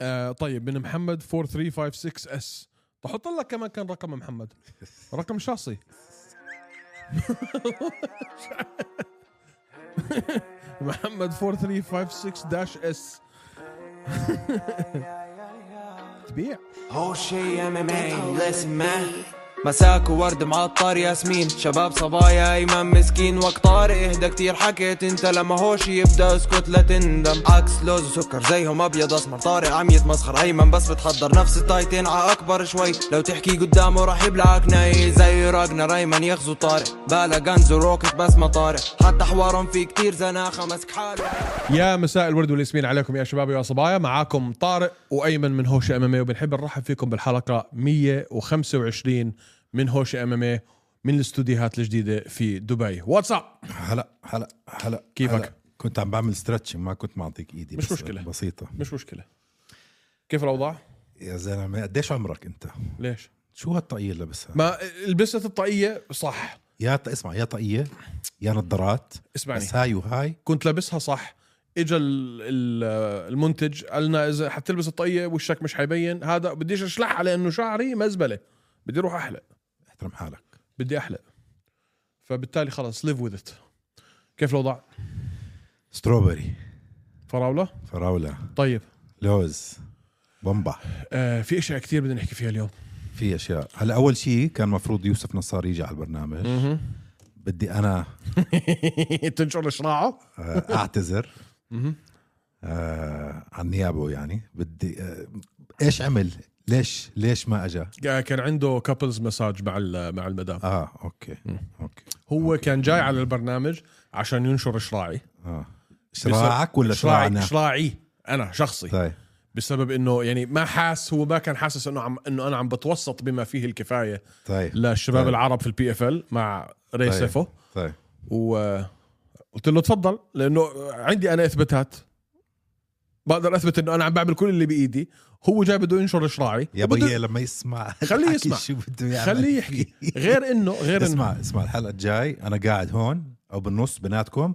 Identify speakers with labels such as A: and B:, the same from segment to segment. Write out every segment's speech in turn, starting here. A: آه طيب من محمد 4356 اس بحط لك كمان كان رقم محمد رقم شخصي محمد 4356 داش اس تبيع
B: هو شي ام ام لسن مساك وورد معطر ياسمين شباب صبايا ايمن مسكين وقت طارق اهدى كتير حكيت انت لما هوش يبدا اسكت لا تندم عكس لوز وسكر زيهم ابيض اسمر طارق عم يتمسخر ايمن بس بتحضر نفس التايتين ع اكبر شوي لو تحكي قدامه راح يبلعك ناي زي راجنا ريمان يغزو طارق بالا غنز وروكت بس ما طارق حتى حوارهم في كتير زناخه مسك حاله
A: يا مساء الورد والياسمين عليكم يا شباب ويا صبايا معاكم طارق وايمن من هوشه امامي إيه، وبنحب نرحب فيكم بالحلقه 125 من هوشه امامي إيه، من الاستوديوهات الجديده في دبي واتساب
C: هلا هلا هلا
A: كيفك؟
C: هلا. كنت عم بعمل ستريتشنج ما كنت معطيك ايدي
A: مش
C: بس
A: مشكلة.
C: بسيطة
A: مش مشكله كيف الاوضاع؟
C: يا زلمة قديش عمرك انت؟
A: ليش؟
C: شو هالطاقية اللي لابسها؟
A: ما لبست الطاقيه صح
C: يا ط... اسمع يا طاقية يا نظارات
A: اسمعني
C: بس هاي وهاي
A: كنت لابسها صح اجى ال- ال- المنتج قال لنا اذا حتلبس الطاقيه وشك مش حيبين هذا بديش اشلحها لانه شعري مزبله بدي اروح احلق
C: احترم حالك
A: بدي احلق فبالتالي خلص ليف وذ ات كيف الوضع؟
C: ستروبري
A: فراوله؟
C: فراولة
A: طيب
C: لوز بمبع
A: آه في اشياء كثير بدنا نحكي فيها اليوم
C: في اشياء هلا اول شيء كان مفروض يوسف نصار يجي على البرنامج بدي انا
A: تنشر شراعه؟
C: آه، اعتذر
A: مهم.
C: آه عن نيابه يعني بدي آه ايش عمل؟ ليش ليش ما اجى؟
A: آه، كان عنده كابلز مساج مع ال- مع المدام
C: اه اوكي اوكي
A: هو كان جاي على البرنامج عشان ينشر شراعي
C: اه شراعك ولا
A: شراعي
C: شراعنا؟
A: شراعي انا شخصي
C: طيب
A: بسبب انه يعني ما حاس هو ما كان حاسس انه عم انه انا عم بتوسط بما فيه الكفايه
C: طيب
A: للشباب
C: طيب.
A: العرب في البي اف ال مع ري
C: طيب.
A: سيفو
C: طيب
A: و قلت له تفضل لانه عندي انا اثباتات بقدر اثبت انه انا عم بعمل كل اللي بايدي هو جاي بده ينشر شراعي
C: يا
A: وبده-
C: بيي لما يسمع
A: خليه
C: الحكي
A: يسمع.
C: شو بده يعمل
A: خليه يحكي غير انه غير انه
C: اسمع اسمع الحلقه الجاي انا قاعد هون او بالنص بيناتكم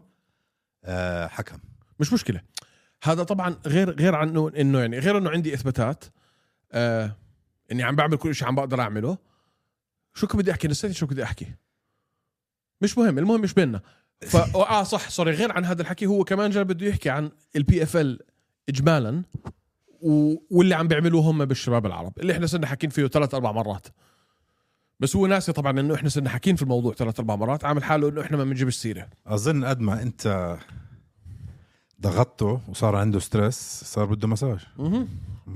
C: آه حكم
A: مش مشكله هذا طبعا غير غير عن إنه- انه يعني غير انه عندي اثباتات آه اني عم بعمل كل شيء عم بقدر اعمله شو كنت بدي احكي نسيت شو كنت بدي احكي مش مهم المهم مش بيننا ف اه صح سوري غير عن هذا الحكي هو كمان جاي بده يحكي عن البي اف ال اجمالا و... واللي عم بيعملوه هم بالشباب العرب اللي احنا صرنا حاكين فيه ثلاث اربع مرات بس هو ناسي طبعا انه احنا صرنا حاكين في الموضوع ثلاث اربع مرات عامل حاله انه احنا ما بنجيبش سيره
C: اظن قد ما انت ضغطته وصار عنده ستريس صار بده مساج ما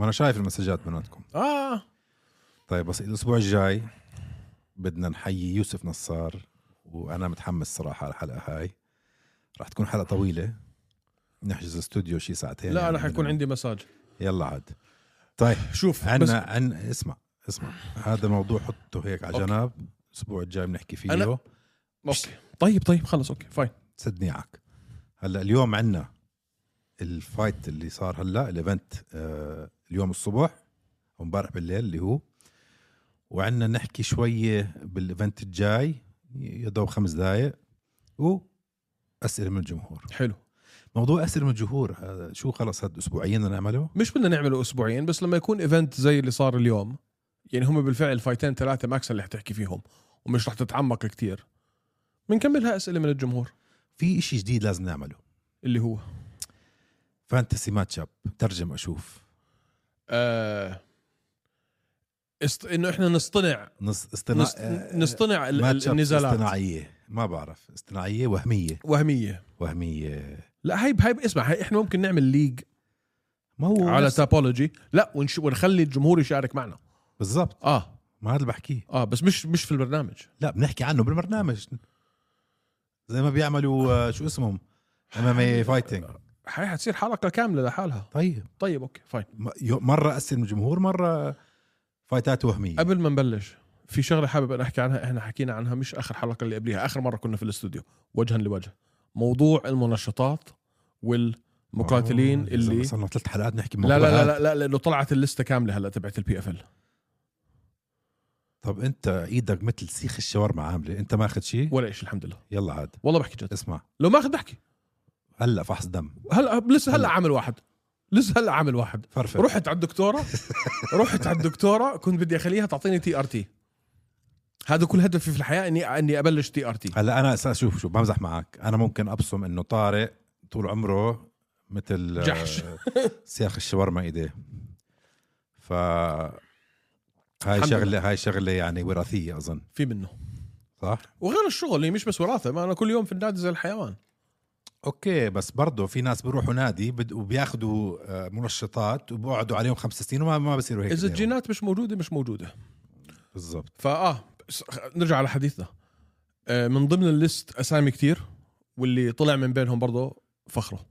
C: انا شايف المسجات بيناتكم
A: اه
C: طيب بس الاسبوع الجاي بدنا نحيي يوسف نصار وانا متحمس صراحه على الحلقه هاي راح تكون حلقه طويله نحجز استوديو شي ساعتين
A: لا
C: يعني
A: انا حيكون
C: بدنا-
A: عندي مساج
C: يلا عاد طيب
A: شوف بس
C: عنا عن اسمع اسمع هذا الموضوع حطه هيك على
A: أوكي.
C: جنب الاسبوع الجاي بنحكي فيه
A: أنا-
C: أنا...
A: اوكي طيب طيب خلص اوكي فاين
C: صدنيعك هلا اليوم عنا الفايت اللي صار هلا الايفنت آه اليوم الصبح وامبارح بالليل اللي هو وعنا نحكي شويه بالايفنت الجاي يا دوب خمس دقائق واسئله من الجمهور
A: حلو
C: موضوع اسئله من الجمهور هذا شو خلص هاد اسبوعيا بدنا نعمله
A: مش بدنا نعمله اسبوعين بس لما يكون ايفنت زي اللي صار اليوم يعني هم بالفعل فايتين ثلاثه ماكس اللي حتحكي فيهم ومش رح تتعمق كتير بنكملها اسئله من الجمهور
C: في إشي جديد لازم نعمله
A: اللي هو
C: فانتسي ماتش اب ترجم اشوف
A: آه است... انه احنا نصطنع
C: نص
A: نص...
C: اصطناع
A: نصطنع ال...
C: ماتش
A: ال-
C: أب
A: النزالات
C: اصطناعيه ما بعرف اصطناعيه وهميه
A: وهميه
C: وهميه
A: لا هاي هاي اسمع هاي احنا ممكن نعمل ليج
C: ما هو
A: على
C: نفس-
A: تابولوجي لا ونش... ونخلي الجمهور يشارك معنا
C: بالضبط
A: اه
C: ما هذا اللي بحكيه
A: اه بس مش مش في البرنامج
C: لا بنحكي عنه بالبرنامج زي ما بيعملوا آه، شو اسمهم ام ام فايتنج
A: هاي حتصير حلقه كامله لحالها
C: طيب
A: طيب اوكي فاين
C: م- يو- مره اسئله من الجمهور مره فايتات وهميه
A: قبل ما نبلش في شغله حابب ان احكي عنها احنا حكينا عنها مش اخر حلقه اللي قبليها اخر مره كنا في الاستوديو وجها لوجه موضوع المنشطات والمقاتلين
C: آه،
A: اللي
C: صرنا ثلاث حلقات نحكي
A: لا لا لا لا
C: بموضوع هذا.
A: لا لانه طلعت الليسته كامله هلا تبعت البي اف ال
C: طب انت ايدك مثل سيخ الشاورما عامله انت ماخذ شيء
A: ولا شيء الحمد لله
C: يلا عاد
A: والله بحكي جد
C: اسمع
A: لو ما اخذ بحكي
C: هلا فحص دم
A: هلا لسه هلا عامل واحد لسه هلا عامل واحد
C: فرفر
A: رحت على الدكتوره رحت على الدكتوره كنت بدي اخليها تعطيني تي ار تي هذا كل هدفي في الحياه اني اني ابلش تي ار تي
C: هلا انا اساس شوف شو بمزح معك انا ممكن ابصم انه طارق طول عمره مثل
A: جحش.
C: آه، سياخ الشاورما ايديه ف هاي
A: الحمد
C: شغله هاي شغله يعني وراثيه اظن
A: في منه
C: صح
A: وغير الشغل هي مش بس وراثه ما انا كل يوم في النادي زي الحيوان
C: إيه، اوكي بس برضه في ناس بيروحوا نادي بد- وبياخذوا آه، منشطات وبقعدوا عليهم خمس سنين وما ما بصيروا هيك
A: اذا
C: بدايهم.
A: الجينات مش موجوده مش موجوده
C: بالضبط
A: فاه بس نرجع على حديثنا آه، من ضمن الليست اسامي كتير واللي طلع من بينهم برضه فخره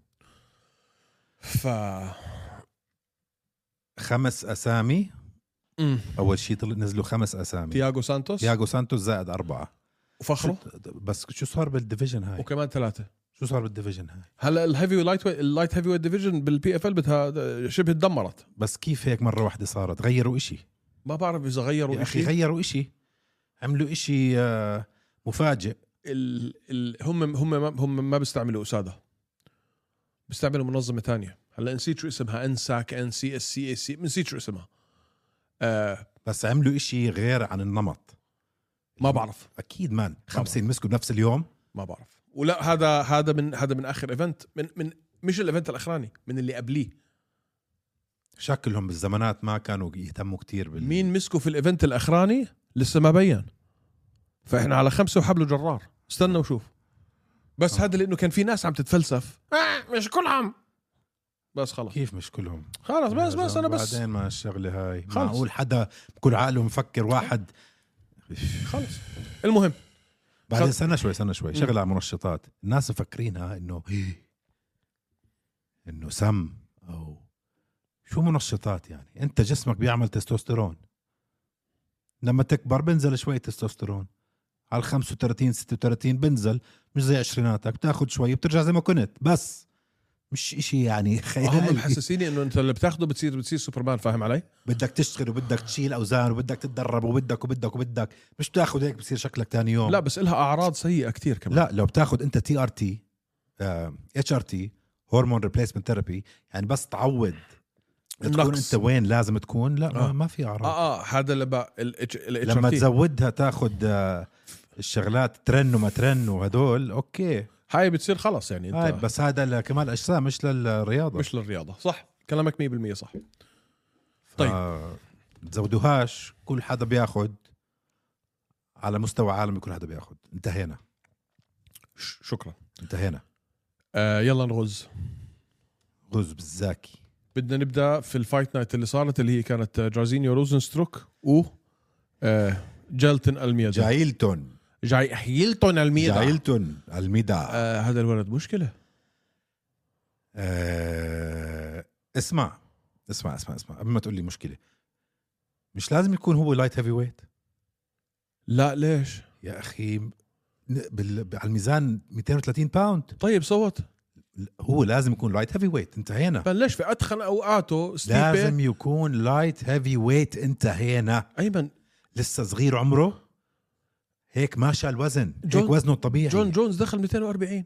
A: ف
C: خمس اسامي
A: مم.
C: اول شيء طل- نزلوا خمس اسامي
A: تياغو سانتوس
C: تياغو سانتوس زائد اربعه
A: وفخره
C: شو- بس شو صار بالديفيجن هاي؟
A: وكمان ثلاثه
C: شو صار بالديفيجن هاي؟
A: هلا الهيفي لايت اللايت هيفي ويت ديفيجن بالبي اف ال بدها شبه تدمرت
C: بس كيف هيك مره واحده صارت غيروا إشي
A: ما بعرف اذا
C: يا
A: غيروا
C: اخي
A: شيء
C: غيروا إشي عملوا إشي آه، مفاجئ
A: ال... ال... هم هم ما... هم ما بيستعملوا اساده بيستعملوا منظمه تانية هلا نسيت شو اسمها انساك ان سي اس سي اي سي نسيت شو اسمها آه
C: بس عملوا إشي غير عن النمط
A: ما بعرف
C: اكيد مان خمسه يمسكوا بنفس اليوم
A: ما بعرف ولا هذا هذا من هذا من اخر ايفنت من من مش الايفنت الاخراني من اللي قبليه
C: شكلهم بالزمانات ما كانوا يهتموا كتير بال
A: مين مسكوا في الايفنت الاخراني لسه ما بين فاحنا على خمسه وحبل جرار استنى وشوف بس
C: آه.
A: هذا لانه كان في ناس عم تتفلسف آه مش كلهم بس خلاص
C: كيف مش كلهم
A: خلاص بس بس انا بس
C: بعدين ما الشغله هاي
A: خلص.
C: معقول حدا بكل عقله مفكر واحد
A: خلص المهم
C: بعدين
A: خلص.
C: استنى شوي استنى شوي
A: مم.
C: شغله على منشطات الناس مفكرينها انه انه سم او شو منشطات يعني انت جسمك بيعمل تستوستيرون لما تكبر بنزل شوي تستوستيرون على ال 35 36 بنزل مش زي عشريناتك بتاخذ شوي بترجع زي ما كنت بس مش اشي يعني
A: هم
C: خيالي
A: محسسيني انه انت اللي بتاخده بتصير بتصير سوبرمان فاهم علي؟
C: بدك تشتغل وبدك تشيل اوزان وبدك تتدرب وبدك وبدك وبدك مش تاخذ هيك بصير شكلك تاني يوم
A: لا بس إلها اعراض سيئه كتير كمان
C: آه. لا لو بتاخذ انت تي ار تي اتش ار تي هرمون ريبليسمنت ثيرابي يعني بس تعود تكون
A: النقص.
C: انت وين لازم تكون لا ما,
A: آه.
C: ما في اعراض آه.
A: اه اه هذا لما ال
C: لما
A: تزود
C: تزودها تاخذ الشغلات ترن وما ترن وهدول اوكي
A: هاي بتصير خلص يعني انت
C: هاي بس هذا لكمال اجسام مش للرياضه
A: مش للرياضه صح كلامك 100% صح طيب.
C: طيب تزودوهاش كل حدا بياخذ على مستوى عالمي كل حدا بياخذ انتهينا
A: ش- شكرا
C: انتهينا
A: آه يلا نغز
C: غز بالزاكي
A: بدنا نبدا في الفايت نايت اللي صارت اللي هي كانت جارزينيو روزنستروك و آه، جيلتن الميدا
C: جايلتون
A: جاي هيلتون الميدا
C: جايلتون الميدا
A: آه، هذا الولد مشكله
C: آه، اسمع اسمع اسمع اسمع قبل ما تقول لي مشكله مش لازم يكون هو لايت هيفي ويت
A: لا ليش
C: يا اخي ن- بال... على الميزان 230 باوند
A: طيب صوت
C: هو لازم يكون لايت هيفي ويت انتهينا
A: بلش في اتخن اوقاته ستيبي
C: لازم يكون لايت هيفي ويت انتهينا
A: ايمن
C: لسه صغير عمره هيك ما شال وزن هيك
A: جون-
C: وزنه الطبيعي
A: جون جونز دخل 240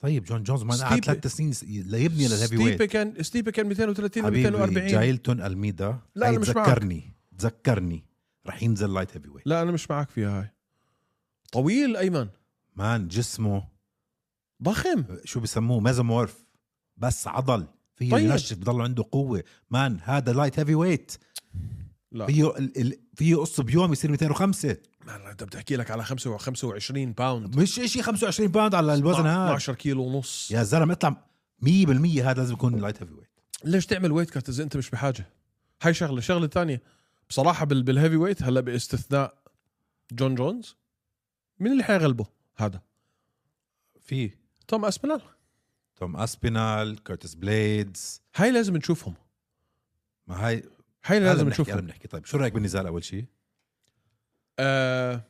C: طيب جون جونز ما قعد
A: ستيبي.
C: ثلاث سنين س- ليبني للهيفي ويت
A: ستيبي كان ستيبي كان 230 ل
C: حبيبي
A: 240
C: جايلتون الميدا
A: لا،
C: هاي
A: أنا مش معك.
C: تذكرني تذكرني رح ينزل لايت هيفي ويت
A: لا انا مش معك فيها هاي طويل ايمن
C: مان جسمه
A: ضخم
C: شو بسموه ميزومورف بس عضل فيه
A: طيب.
C: طيب. ينشف بضل عنده قوه مان هذا لايت هيفي ويت
A: لا
C: فيه ال- ال- فيه قص بيوم يصير 205
A: ما انت بتحكي لك على 25 باوند
C: مش شيء 25 باوند على الوزن هذا
A: 12 كيلو ونص
C: يا زلمه اطلع 100% هذا لازم يكون لايت هيفي ويت
A: ليش تعمل ويت كات اذا انت مش بحاجه هاي شغله الشغله الثانيه بصراحه بال- بالهيفي ويت هلا باستثناء جون جونز مين اللي حيغلبه هذا
C: في
A: توم اسبينال
C: توم اسبينال كورتس بليدز
A: هاي لازم نشوفهم
C: ما هاي
A: هاي
C: هذا
A: لازم
C: بنحكي، هذا
A: نشوفهم
C: بنحكي طيب شو رايك بالنزال اول شيء
A: آه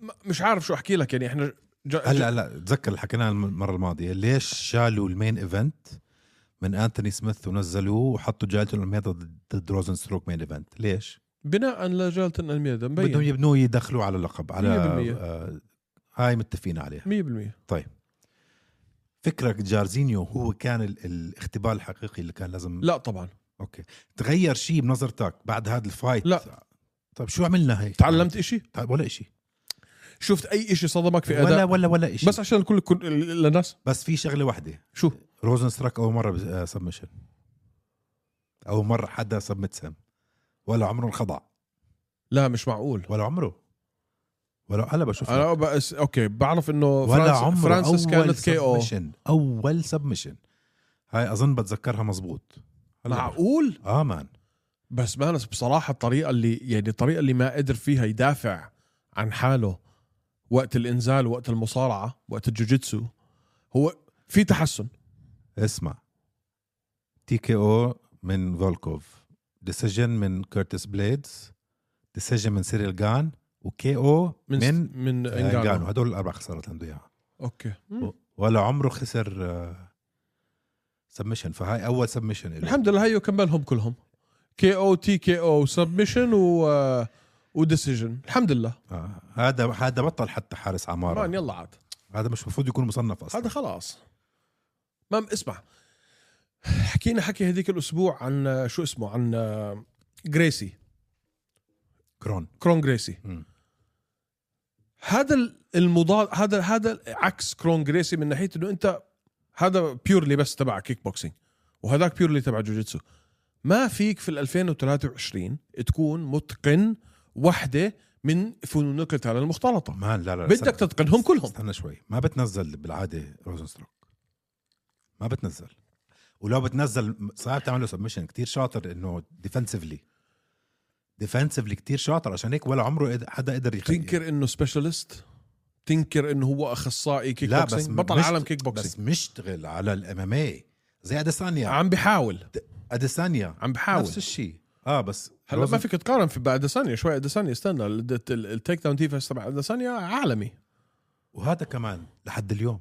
A: م- مش عارف شو احكي لك يعني احنا ج...
C: هلا هلا تذكر اللي حكيناه المره الماضيه ليش شالوا المين ايفنت من انتوني سميث ونزلوه وحطوا جايلتون الميدا ضد- ضد روزن ستروك مين ايفنت ليش؟
A: بناء لجالتن الميدا
C: بدهم
A: مبين
C: يبنوه يدخلوا على اللقب على
A: 100%.
C: آه هاي متفقين عليها
A: 100%
C: طيب فكرك جارزينيو هو كان ال- الاختبار الحقيقي اللي كان لازم
A: لا طبعا
C: اوكي تغير شيء بنظرتك بعد هذا الفايت
A: لا.
C: طيب شو عملنا هيك
A: تعلمت إشي
C: طيب ولا شيء
A: شفت اي إشي صدمك في
C: ولا
A: اداء
C: ولا ولا شيء
A: بس عشان الكل الكل- للناس
C: بس في شغله واحده
A: شو
C: روزن ستراك اول مره سبمشن اول مره حدا سبمت سام ولا عمره انخضع
A: لا مش معقول
C: ولا عمره ولا هلا بشوف لك.
A: انا بس اوكي بعرف انه
C: ولا
A: فرانس
C: عمره
A: فرانسيس
C: اول
A: كانت كي او
C: سبمشن اول سبمشن هاي اظن بتذكرها مزبوط هلا بشوف.
A: معقول
C: اه مان
A: بس مانس بصراحه الطريقه اللي يعني الطريقه اللي ما قدر فيها يدافع عن حاله وقت الانزال وقت المصارعه وقت الجوجيتسو هو في تحسن
C: اسمع تي كي او من فولكوف ديسيجن من كورتيس بليدز ديسيجن من سيريل جان وكي او
A: من
C: من
A: من
C: آه، انجانو
A: انجانو
C: هدول الاربع خسارات عنده اياها
A: اوكي مم.
C: ولا عمره خسر سبمشن فهاي اول سبمشن
A: الحمد لله هيو كملهم كلهم كي او تي كي او سبمشن و وديسيجن الحمد لله
C: آه. هذا هذا بطل حتى حارس
A: مان
C: عماره
A: يلا عاد
C: هذا مش المفروض يكون مصنف اصلا
A: هذا خلاص ما اسمع حكينا حكي هذيك الاسبوع عن آه، شو اسمه عن آه، جريسي
C: كرون
A: كرون جريسي
C: مم.
A: هذا ال- المضاد هذا هذا عكس كرون جريسي من ناحيه انه انت هذا بيورلي بس تبع كيك بوكسينج وهذاك بيورلي تبع جوجيتسو ما فيك في ال 2023 تكون متقن وحده من فنون القتال المختلطه
C: مان لا لا لا،
A: بدك
C: استنى.
A: تتقنهم كلهم
C: استنى شوي ما بتنزل بالعاده روزنستروك ما بتنزل ولو بتنزل صعب تعمل له سبمشن كثير شاطر انه ديفنسفلي ديفنسفلي كثير شاطر عشان هيك ولا عمره قد- حدا قدر يخ-
A: تنكر انه سبيشالست تنكر انه هو اخصائي كيك
C: لا بس
A: بوكسينج بطل
C: مش-
A: عالم كيك
C: بس
A: بوكسينج
C: مشتغل على الام ام اي زي اديسانيا
A: عم بحاول
C: اديسانيا
A: عم بحاول
C: نفس الشيء اه بس
A: هلا ما فيك تقارن في باديسانيا شوي اديسانيا استنى ال- ال- التيك داون ديفنس تبع اديسانيا عالمي
C: وهذا كمان لحد اليوم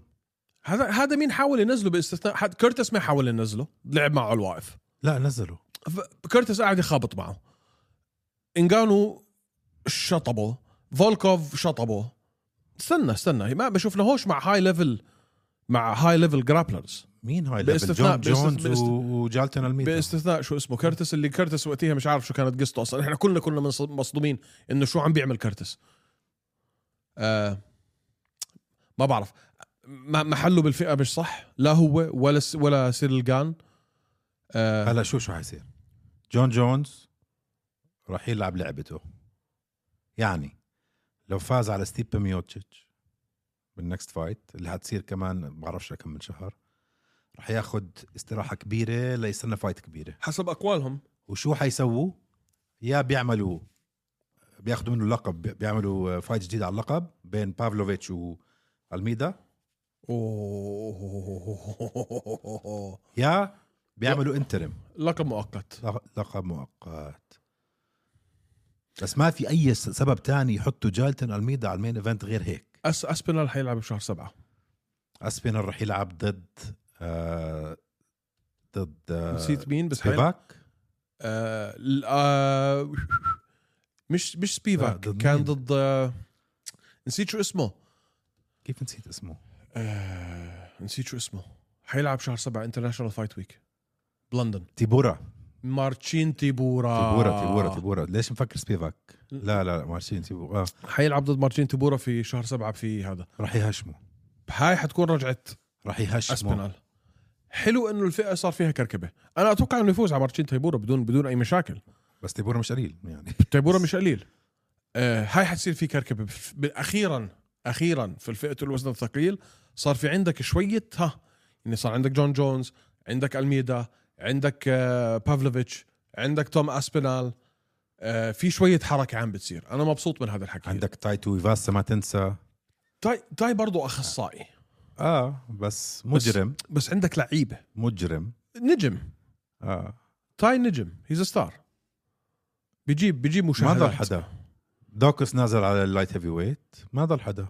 A: هذا هذا مين حاول ينزله باستثناء حد كورتس ما حاول ينزله لعب معه على الواقف
C: لا نزله
A: ف- كورتس قاعد يخابط معه انجانو شطبه فولكوف شطبه استنى استنى ما بشوفناهوش مع هاي ليفل مع هاي ليفل جرابلرز
C: مين هاي
A: باستثناء-
C: باستثناء جون
A: باستثناء-
C: جونز
A: باست-
C: و- وجالتون الميدا
A: باستثناء شو اسمه كرتس اللي كرتس وقتها مش عارف شو كانت قصته اصلا احنا كلنا كنا منص- مصدومين انه شو عم بيعمل كرتس آه ما بعرف ما- محله بالفئه مش صح لا هو ولا س- ولا سيرلجان آه
C: هلا شوف شو حيصير جون جونز راح يلعب لعبته يعني لو فاز على ستيب ميوتشيتش بالنكست فايت اللي حتصير كمان بعرفش كم من شهر راح ياخذ استراحه كبيره ليستنى فايت كبيره
A: حسب اقوالهم
C: وشو حيسووا يا بيعملوا بياخذوا منه لقب بيعملوا فايت جديد على اللقب بين بافلوفيتش والميدا
A: اوه
C: يا بيعملوا انترم
A: لقب مؤقت
C: لقب مؤقت بس ما في اي س- سبب تاني يحطوا جالتن الميدا على المين ايفنت غير هيك
A: أس اسبينال حيلعب بشهر سبعة
C: اسبينر رح يلعب ضد آه ضد آه
A: نسيت مين بس حيلعب
C: سبيفاك
A: آه ال- آه مش مش
C: لا،
A: سبيفاك
C: ضد
A: كان
C: مين؟
A: ضد آه نسيت شو اسمه
C: كيف نسيت اسمه
A: آه نسيت شو اسمه حيلعب شهر سبعة انترناشونال فايت ويك بلندن
C: تيبورا
A: مارتشين تيبورا
C: تيبورا تيبورا تيبورا ليش مفكر سبيفاك لا لا لا مارشين تيبورا آه
A: حيلعب ضد مارتشين تيبورا في شهر سبعة في هذا
C: رح يهشمه
A: هاي حتكون رجعت
C: رح يهشمه
A: اسبينال حلو انه الفئه صار فيها كركبه انا اتوقع انه يفوز على مارتشين تيبورا بدون بدون اي مشاكل
C: بس تيبورا مش قليل يعني
A: تيبورا مش قليل آه هاي حتصير في كركبه بف- ب- اخيرا اخيرا في الفئه الوزن الثقيل صار في عندك شويه ها يعني صار عندك جون جونز عندك الميدا عندك آه بافلوفيتش عندك توم اسبينال آه في شويه حركه عم بتصير انا مبسوط من هذا الحكي طيب-
C: عندك تايتو ويفاسا ما تنسى
A: تاي تاي برضه اخصائي
C: اه بس مجرم
A: بس عندك لعيبه
C: مجرم
A: نجم
C: اه
A: تاي نجم هيز ستار بيجيب بيجيب
C: ما
A: مشاهدات
C: ضل حدا دوكس نازل على اللايت هيفي ويت ما ضل حدا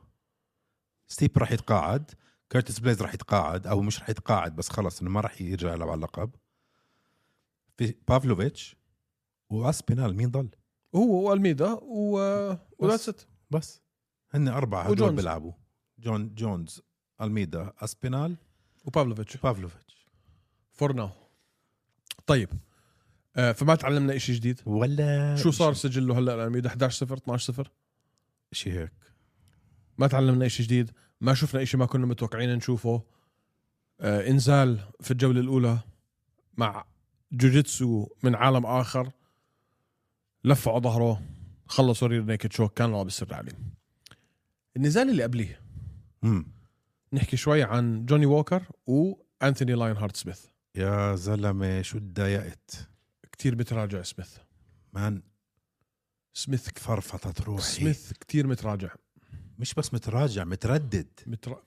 C: ستيب راح يتقاعد كيرتس بليز راح يتقاعد او مش راح يتقاعد بس خلص انه ما راح يرجع يلعب على اللقب في بافلوفيتش واسبينال مين ضل
A: هو والميدا و وذاتس ات
C: بس هن اربعه
A: وجونز.
C: هدول بيلعبوا جون جونز الميدا اسبينال
A: وبافلوفيتش
C: بافلوفيتش
A: فور ناو طيب آه فما تعلمنا شيء جديد
C: ولا
A: شو صار سجله هلا العالمي 11 0 12 0
C: شيء هيك
A: ما تعلمنا شيء جديد ما شفنا شيء ما كنا متوقعين نشوفه آه انزال في الجوله الاولى مع جوجيتسو من عالم اخر لفعوا ظهره خلصوا رير نيكد شوك كان الله بالسر عليه النزال اللي قبليه
C: امم
A: نحكي شوي عن جوني ووكر وانثوني لاين هارت سميث
C: يا زلمه شو تضايقت
A: كتير متراجع سميث
C: مان
A: سميث ك-
C: فرفطت روحي
A: سميث كتير متراجع
C: مش بس متراجع متردد
A: متر...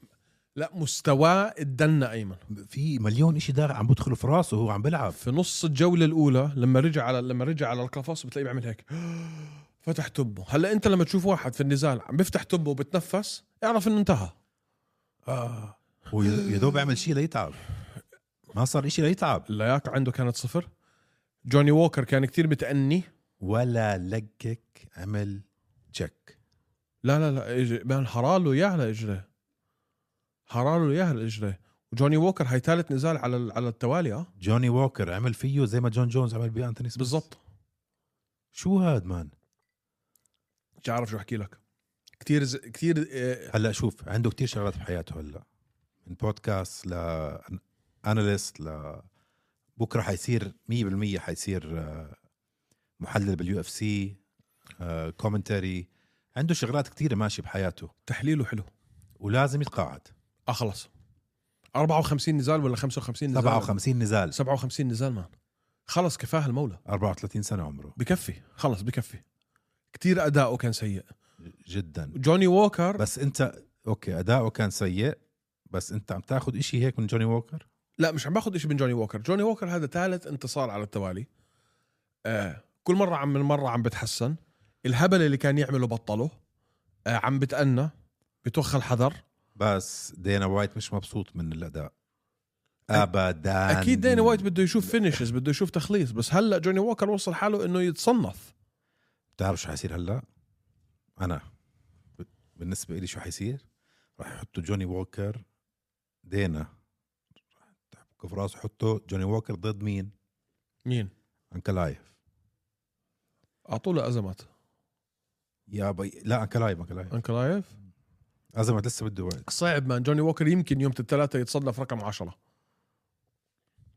A: لا مستواه اتدنى ايمن
C: في مليون إشي دار عم بدخل في راسه وهو عم بلعب
A: في نص الجوله الاولى لما رجع على لما رجع على القفص بتلاقيه بيعمل هيك فتح تبه هلا انت لما تشوف واحد في النزال عم بيفتح تبه وبتنفس اعرف انه انتهى
C: اه ويا دوب يعمل شيء ليتعب ما صار إشي ليتعب
A: اللياقه عنده كانت صفر جوني ووكر كان كتير متأني
C: ولا لقك عمل تشيك
A: لا لا لا إج- بان حراله اياه على اجره حراله اياه على اجره وجوني ووكر هي ثالث نزال على ال- على التوالي اه
C: جوني ووكر عمل فيه زي ما جون جونز عمل بأنتوني سميث
A: بالضبط
C: شو هاد مان
A: مش عارف شو احكي لك كثير ز... كثير آه،
C: هلا شوف عنده كتير شغلات بحياته هلا من بودكاست ل اناليست ل بكره حيصير 100% حيصير آه، محلل باليو اف سي كومنتري عنده شغلات كتير ماشي بحياته
A: تحليله حلو
C: ولازم يتقاعد
A: اه خلص 54 نزال ولا 55 نزال
C: 57 نزال
A: 57 نزال مان خلص كفاه المولى
C: 34 سنه عمره
A: بكفي خلص بكفي كثير اداؤه كان سيء
C: جدا
A: جوني ووكر
C: بس انت اوكي اداؤه كان سيء بس انت عم تاخذ إشي هيك من جوني ووكر
A: لا مش عم باخذ شيء من جوني ووكر جوني ووكر هذا ثالث انتصار على التوالي آه كل مره عم من مره عم بتحسن الهبل اللي كان يعمله بطله آه عم بتأنى بتوخى الحذر
C: بس دينا وايت مش مبسوط من الاداء ابدا
A: اكيد دينا وايت بده يشوف فينيشز بده يشوف تخليص بس هلا جوني ووكر وصل حاله انه يتصنف
C: بتعرف شو حيصير هلا؟ انا ب- بالنسبه لي شو حيصير؟ راح يحطوا جوني ووكر دينا راح تحبكوا في راسه يحطوا جوني ووكر ضد مين؟
A: مين
C: انكلايف
A: اعطوا له ازمات
C: يا بي لا انكلايف انكلايف
A: انكلايف
C: ازمه لسه بده وقت
A: صعب مان جوني ووكر يمكن يوم الثلاثاء يتصنف رقم عشرة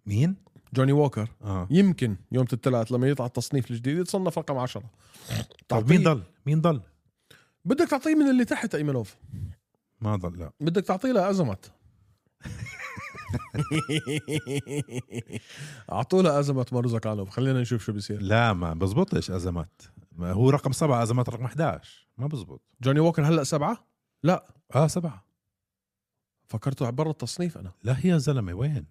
C: مين؟
A: جوني ووكر
C: اه
A: يمكن يوم الثلاث لما يطلع التصنيف الجديد يتصنف رقم عشرة
C: طب
A: تعطيه-
C: مين ضل؟ مين ضل؟
A: بدك تعطيه من اللي تحت ايمنوف
C: ما ضل لا
A: بدك تعطيه لها ازمات اعطوا لها ازمات مارزاكانوف خلينا نشوف شو بيصير
C: لا ما بزبطش ازمات ما هو رقم سبعه ازمات رقم 11 ما بزبط
A: جوني ووكر هلا سبعه لا
C: اه سبعه
A: فكرته برا التصنيف انا
C: لا يا زلمه وين؟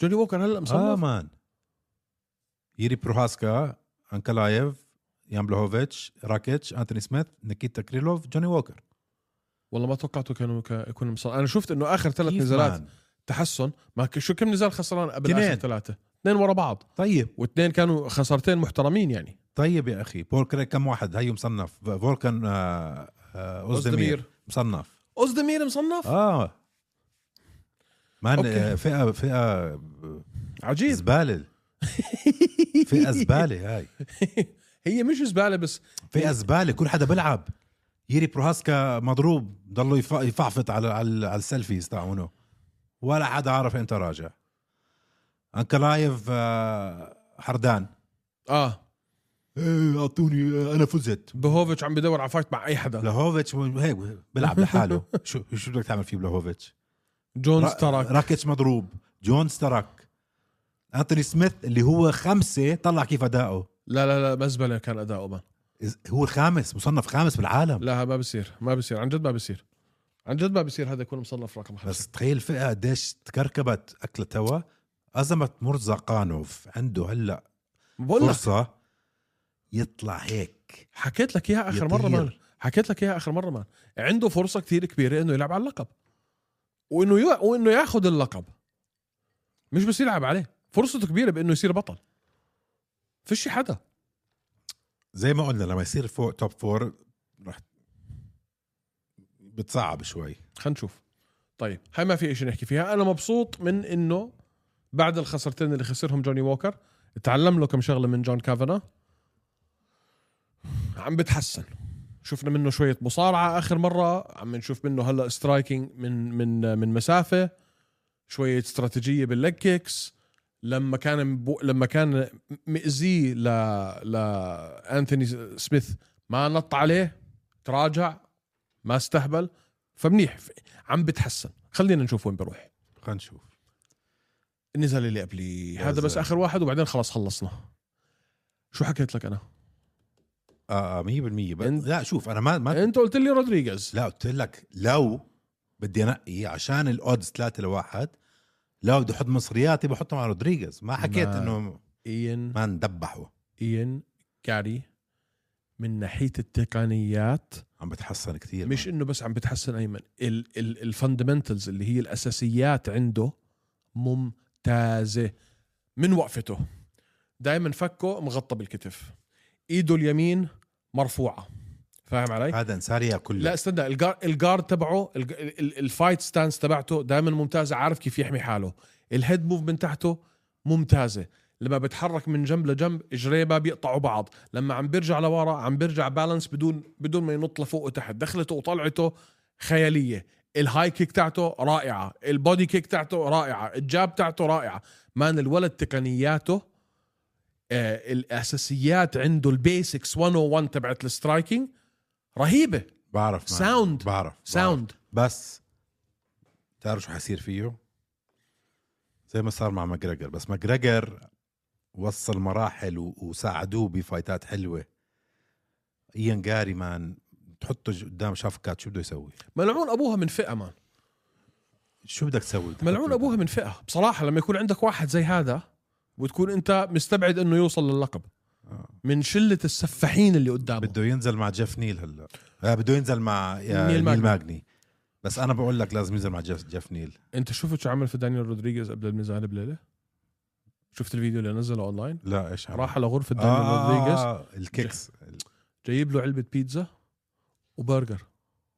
A: جوني ووكر هلا
C: اه
A: مصنف
C: مان يري بروهاسكا انكلايف يان بلوهوفيتش راكيتش انتوني سميث نيكيتا كريلوف جوني ووكر
A: والله ما توقعته كانوا كا- يكون مصنف انا شفت انه اخر ثلاث
C: كيف
A: نزالات
C: مان؟
A: تحسن ما ك- شو كم نزال خسران قبل
C: اثنين.
A: اخر ثلاثه اثنين ورا بعض
C: طيب
A: واثنين كانوا خسارتين محترمين يعني
C: طيب يا اخي بول كريك كم واحد هيو مصنف فولكان آه، آه، اوزدمير
A: أوزدمير.
C: مصنف
A: اوزدمير مصنف
C: اه مان
A: أوكي.
C: آه، فئه فئه
A: عجيب
C: زباله فئه زباله هاي
A: هي مش زباله بس
C: فئه زباله كل حدا بلعب يري بروهاسكا مضروب ضلوا يف- يفعفط على على, على السيلفيز تاعونه ولا حدا عرف امتى راجع انكلايف آه، حردان
A: اه
C: إيه، اعطوني آه، انا فزت
A: بهوفيتش عم بدور على فايت مع اي حدا
C: بلاهوفيتش م- هيك بيلعب لحاله شو شو بدك تعمل فيه بلاهوفيتش
A: جونز
C: را-
A: ترك
C: راكيتش مضروب جونز ترك انتوني سميث اللي هو خمسه طلع كيف اداؤه
A: لا لا لا مزبله كان اداؤه مان
C: إز- هو الخامس مصنف خامس بالعالم
A: لا ما بصير ما بصير عن جد ما بصير عن جد ما بصير هذا يكون مصنف رقم خمسة
C: بس تخيل فئه قديش تكركبت اكله توا ازمه مرزقانوف عنده هلا
A: بقول لك
C: فرصه يطلع هيك
A: حكيت لك اياها اخر مره
C: يطير.
A: مان حكيت لك اياها اخر مره مان عنده فرصه كثير كبيره انه يلعب على اللقب وانه ي... وانه ياخذ اللقب مش بس يلعب عليه فرصته كبيره بانه يصير بطل فيش حدا
C: زي ما قلنا لما يصير فوق توب فور رح بتصعب شوي
A: خلينا نشوف طيب هاي ما في شيء نحكي فيها انا مبسوط من انه بعد الخسرتين اللي خسرهم جوني ووكر تعلم له كم شغله من جون كافانا عم بتحسن شفنا منه شويه مصارعه اخر مره عم نشوف منه هلا سترايكينج من من من مسافه شويه استراتيجيه بالليج كيكس لما كان بو لما كان مئزي ل لانثوني سميث ما نط عليه تراجع ما استهبل فمنيح عم بتحسن خلينا نشوف وين بروح
C: خلينا نشوف
A: النزال اللي قبلي
C: يا
A: هذا بس
C: زلمة.
A: اخر واحد وبعدين خلاص خلصنا شو حكيت لك انا
C: اه آه، 100% بس
A: أنت-
C: لا شوف انا ما ما
A: انت قلت لي رودريغيز
C: لا قلت لك لو بدي انقي عشان الاودز 3 لواحد لو بدي احط مصرياتي بحطهم على رودريغيز ما حكيت
A: ما-
C: انه
A: ايان
C: ما ندبحه
A: ايان جاري من ناحيه التقنيات
C: عم بتحسن كثير
A: مش انه بس عم بتحسن ايمن ال- ال- الفندمنتلز اللي هي الاساسيات عنده ممتازه من وقفته دائما فكه مغطى بالكتف ايده اليمين مرفوعه فاهم علي؟
C: هذا انسان ياكل
A: لا استنى الجار الجار تبعه الج- ال- ال- الفايت ستانس تبعته دائما ممتازه عارف كيف يحمي حاله الهيد موفمنت تحته ممتازه لما بتحرك من جنب لجنب اجريه ما بيقطعوا بعض لما عم بيرجع لورا عم بيرجع بالانس بدون بدون ما ينط لفوق وتحت دخلته وطلعته خياليه الهاي كيك تاعته رائعه البودي كيك تاعته رائعه الجاب تاعته رائعه مان الولد تقنياته آه الاساسيات عنده البيسكس 101 تبعت السترايكينج رهيبه
C: بعرف ما-
A: ساوند.
C: بعرف
A: ساوند
C: بس تعرف شو حيصير فيه؟ زي ما صار مع ماجريجر بس ماجريجر وصل مراحل و- وساعدوه بفايتات حلوه ايان جاري مان تحطه ج- قدام شافكات شو بده يسوي؟
A: ملعون ابوها من فئه مان
C: شو بدك تسوي؟
A: ملعون ابوها من فئه بصراحه لما يكون عندك واحد زي هذا وتكون انت مستبعد انه يوصل للقب
C: آه.
A: من شله السفاحين اللي قدامه
C: بده ينزل مع جيف نيل هلا آه بده ينزل مع آه
A: نيل
C: نيل,
A: ماجني.
C: نيل ماجني بس انا بقول لك لازم ينزل مع جيف, جيف نيل
A: انت شفت شو عمل في دانيال رودريغيز قبل الميزان بليله شفت الفيديو اللي نزله اونلاين
C: لا ايش عمل؟
A: راح على غرفه دانيال
C: آه,
A: رودريغيز
C: آه الكيكس
A: جايب له علبه بيتزا وبرجر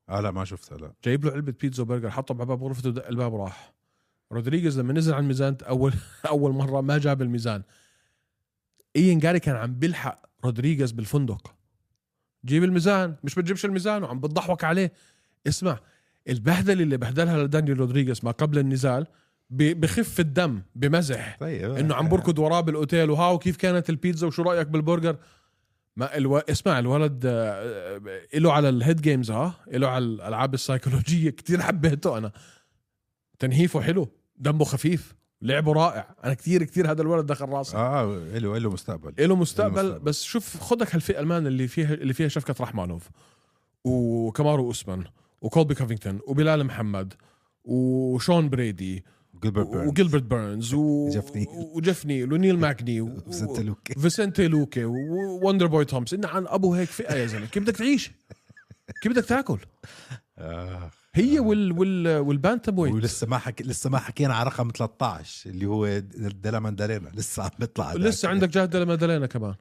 C: اه لا ما شفتها لا
A: جايب له علبه بيتزا وبرجر حطه على باب غرفته ودق الباب راح رودريغيز لما نزل على الميزان اول اول مره ما جاب الميزان ايان جاري كان عم بيلحق رودريغيز بالفندق جيب الميزان مش بتجيبش الميزان وعم بتضحك عليه اسمع البهدله اللي بهدلها لدانيال رودريغيز ما قبل النزال ب- بخف الدم بمزح
C: طيب
A: انه عم بركض وراه بالاوتيل وهاو كيف كانت البيتزا وشو رايك بالبرجر ما الو... اسمع الولد آه، آه، له على الهيد جيمز ها له على الالعاب السيكولوجيه كتير حبيته انا تنهيفه حلو دمه خفيف لعبه رائع انا كتير كتير هذا الولد دخل راسي
C: اه آه، له له مستقبل
A: له مستقبل
C: مستقبل.
A: بس شوف خدك هالفئه المان اللي فيها اللي فيها شفكت رحمانوف وكمارو اوسمان وكولبي كافينغتون وبلال محمد وشون بريدي
C: جيلبرت بيرنز
A: وجيلبرت بيرنز و...
C: جيف نيل.
A: وجيف نيل ونيل ماكني و...
C: وسنت لوكي.
A: فيسنتي لوكي ووندر بوي تومسون إن عن ابو هيك فئه يا زلمه كيف بدك تعيش؟ كيف بدك تاكل؟
C: آه.
A: هي وال وال والبانتم ويت
C: ولسه ما حكي لسه ما حكينا على رقم 13 اللي هو دلا ماندالينا لسه عم بيطلع هذاك.
A: لسه عندك جاك ديلا مادالينا كمان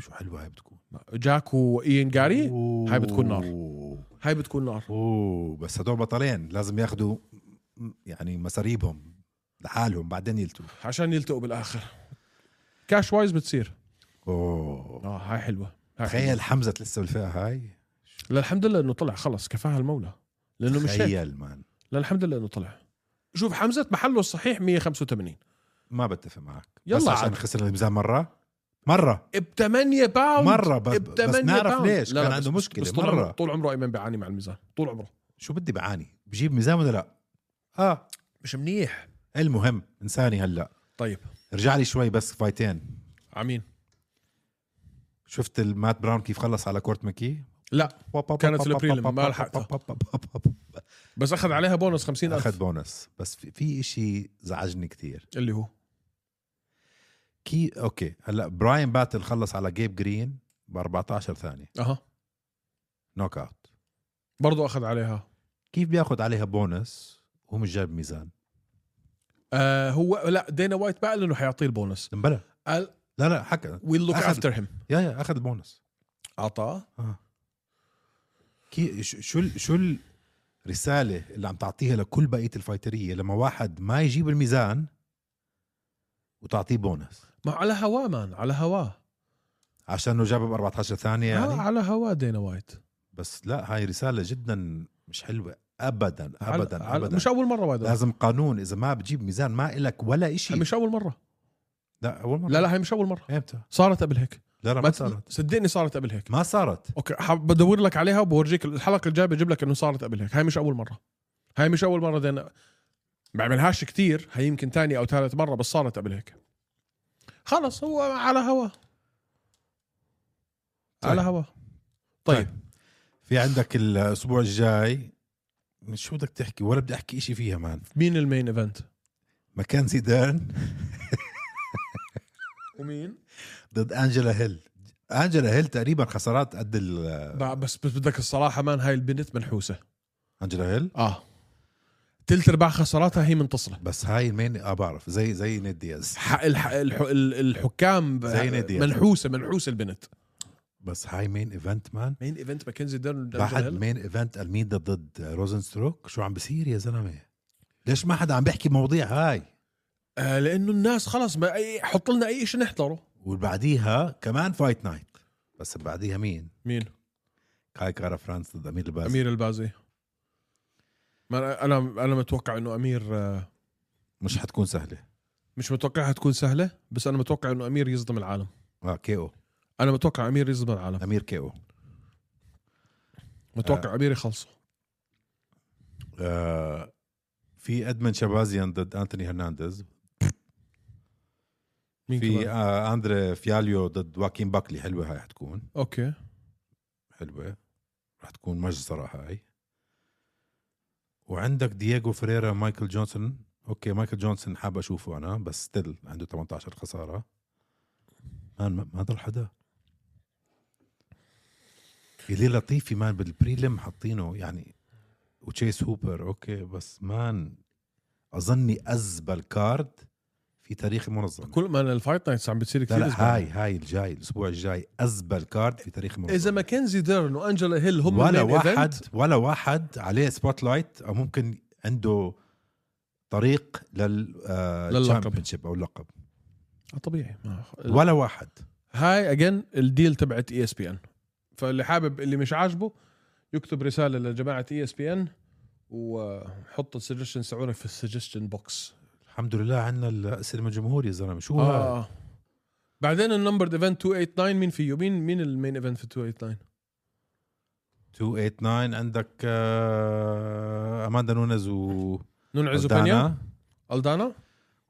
C: شو حلوه هاي بتكون
A: جاك وايان جاري هاي بتكون نار
C: أوه.
A: هاي بتكون نار
C: اوه بس هدول بطلين لازم ياخذوا يعني مساريبهم لحالهم بعدين يلتوا
A: عشان يلتقوا بالاخر كاش وايز بتصير
C: اوه
A: اه هاي حلوه هاي حلوة.
C: تخيل حمزه لسه بالفئه هاي
A: لا الحمد لله انه طلع خلص كفاها المولى لانه مش هيك
C: تخيل مان
A: لا الحمد لله انه طلع شوف حمزه محله الصحيح 185
C: ما بتفق معك بس
A: يلا
C: عشان
A: عاد.
C: خسر الميزان مره مره
A: ب 8 باوند
C: مرة ب-
A: ب
C: بس
A: 8
C: نعرف
A: باوند.
C: ليش، كان
A: بس-
C: عنده
A: بس-
C: مشكلة،
A: بس طول
C: مرة.
A: عمره طول عمره ايمن بيعاني مع الميزان طول عمره
C: شو بدي بعاني بجيب ميزان ولا لا
A: آه.
C: اه
A: مش منيح
C: المهم انساني هلا
A: طيب
C: رجع لي شوي بس فايتين
A: عمين
C: شفت المات براون كيف خلص على كورت مكي
A: لا كانت البريلم، ما لحقتها. بس اخذ عليها بونص 50000
C: اخذ بونس بس في, في شيء زعجني كثير
A: اللي هو
C: كي اوكي هلا براين باتل خلص على جيب جرين ب 14 ثانيه
A: اها
C: نوك اوت
A: برضه اخذ عليها
C: كيف بياخذ عليها بونس وهو مش جايب ميزان
A: آه هو لا دينا وايت بقى انه حيعطيه البونص
C: امبلا
A: قال
C: لا لا حكى
A: ويل لوك
C: أخذ.
A: افتر هيم
C: يا يا اخذ البونس
A: اعطاه
C: كي شو شو ال- شو ال- رساله اللي عم تعطيها لكل بقيه الفايتريه لما واحد ما يجيب الميزان وتعطيه بونس
A: ما على هواه مان على هواه
C: عشانه جابه ب 14 ثانيه
A: يعني؟
C: يعني
A: على هواه دينا وايت
C: بس لا هاي رساله جدا مش حلوه ابدا
A: على-
C: ابدا
A: على-
C: ابدا
A: مش اول مره وايد
C: لازم قانون اذا ما بتجيب ميزان ما إلك ولا شيء
A: مش اول مره
C: لا اول مره
A: لا لا هي مش اول مره
C: امتى
A: صارت قبل هيك
C: لا لا ما
A: ما
C: صارت
A: صدقني صارت قبل هيك
C: ما صارت
A: اوكي ح- بدور لك عليها وبورجيك الحلقه الجايه بجيب لك انه صارت قبل هيك هاي مش اول مره هاي مش اول مره دينا بعملهاش كتير هي يمكن تاني او ثالث مره بس صارت قبل هيك خلص هو على هواه على
C: طيب.
A: هواه طيب
C: في عندك الاسبوع الجاي شو بدك تحكي ولا بدي احكي شيء فيها مان
A: مين المين ايفنت
C: ماكنزي ديرن
A: ومين
C: ضد انجلا هيل انجلا هيل تقريبا خسارات قد ال-
A: بس بس بدك الصراحه مان هاي البنت منحوسه
C: انجلا هيل
A: اه تلت ارباع خساراتها هي منتصره
C: بس هاي المين اه بعرف زي زي نيد دياز
A: ح- الح... الح... ال- الحكام ب-
C: زي نادي.
A: منحوسه منحوسه البنت
C: بس هاي مين ايفنت مان
A: مين ايفنت ماكنزي ديرن
C: بعد مين ايفنت الميدا ضد روزنستروك شو عم بصير يا زلمه ليش ما حدا عم بيحكي مواضيع هاي
A: آه لانه الناس خلص ما أي... حط لنا اي شيء نحضره
C: وبعديها كمان فايت نايت بس بعديها مين
A: مين
C: كاي كارا فرانس ضد امير الباز
A: امير البازي ما انا انا متوقع انه امير آه،
C: مش حتكون سهله
A: مش متوقعها تكون سهله بس انا متوقع انه امير يصدم العالم
C: اه كي او
A: انا متوقع امير يصدم العالم
C: امير كي او
A: متوقع امير يخلصه
C: آه في ادمن شابازيان ضد انتوني هرنانديز
A: مين
C: في
A: في...
C: آه اندري فياليو ضد واكين باكلي حلوه هاي حتكون
A: اوكي
C: حلوه رح تكون مجزره هاي وعندك دييغو فريرا مايكل جونسون اوكي مايكل جونسون حاب اشوفه انا بس ستيل عنده 18 خساره مان ما- ما ضل حدا اللي لطيفي مان بالبريلم حاطينه يعني وتشيس هوبر اوكي بس مان اظني ازبل كارد في تاريخ المنظمه
A: كل ما أنا الفايت نايتس عم بتصير
C: لا
A: كثير
C: لا هاي هاي الجاي الاسبوع الجاي ازبل كارد في تاريخ المنظمه
A: اذا ماكنزي ديرن وانجلا هيل هم
C: ولا
A: المين
C: واحد
A: event،
C: ولا واحد عليه سبوت لايت او ممكن عنده طريق لل آه،
A: لللقب.
C: championship او اللقب
A: آه، طبيعي ما
C: ولا واحد
A: هاي اجين الديل تبعت E اي اس بي ان فاللي حابب اللي مش عاجبه يكتب E رساله لجماعه اي اس بي ان وحط السجستشن تبعونك في السجستشن بوكس
C: الحمد لله عندنا الاسئله من الجمهور يا زلمه شو هاي؟
A: اه بعدين النمبر ايفنت 289 مين فيه مين مين المين ايفنت في 289
C: 289 عندك آه، اماندا نونز و
A: نون عزوبانيا
C: ألدانا،
A: الدانا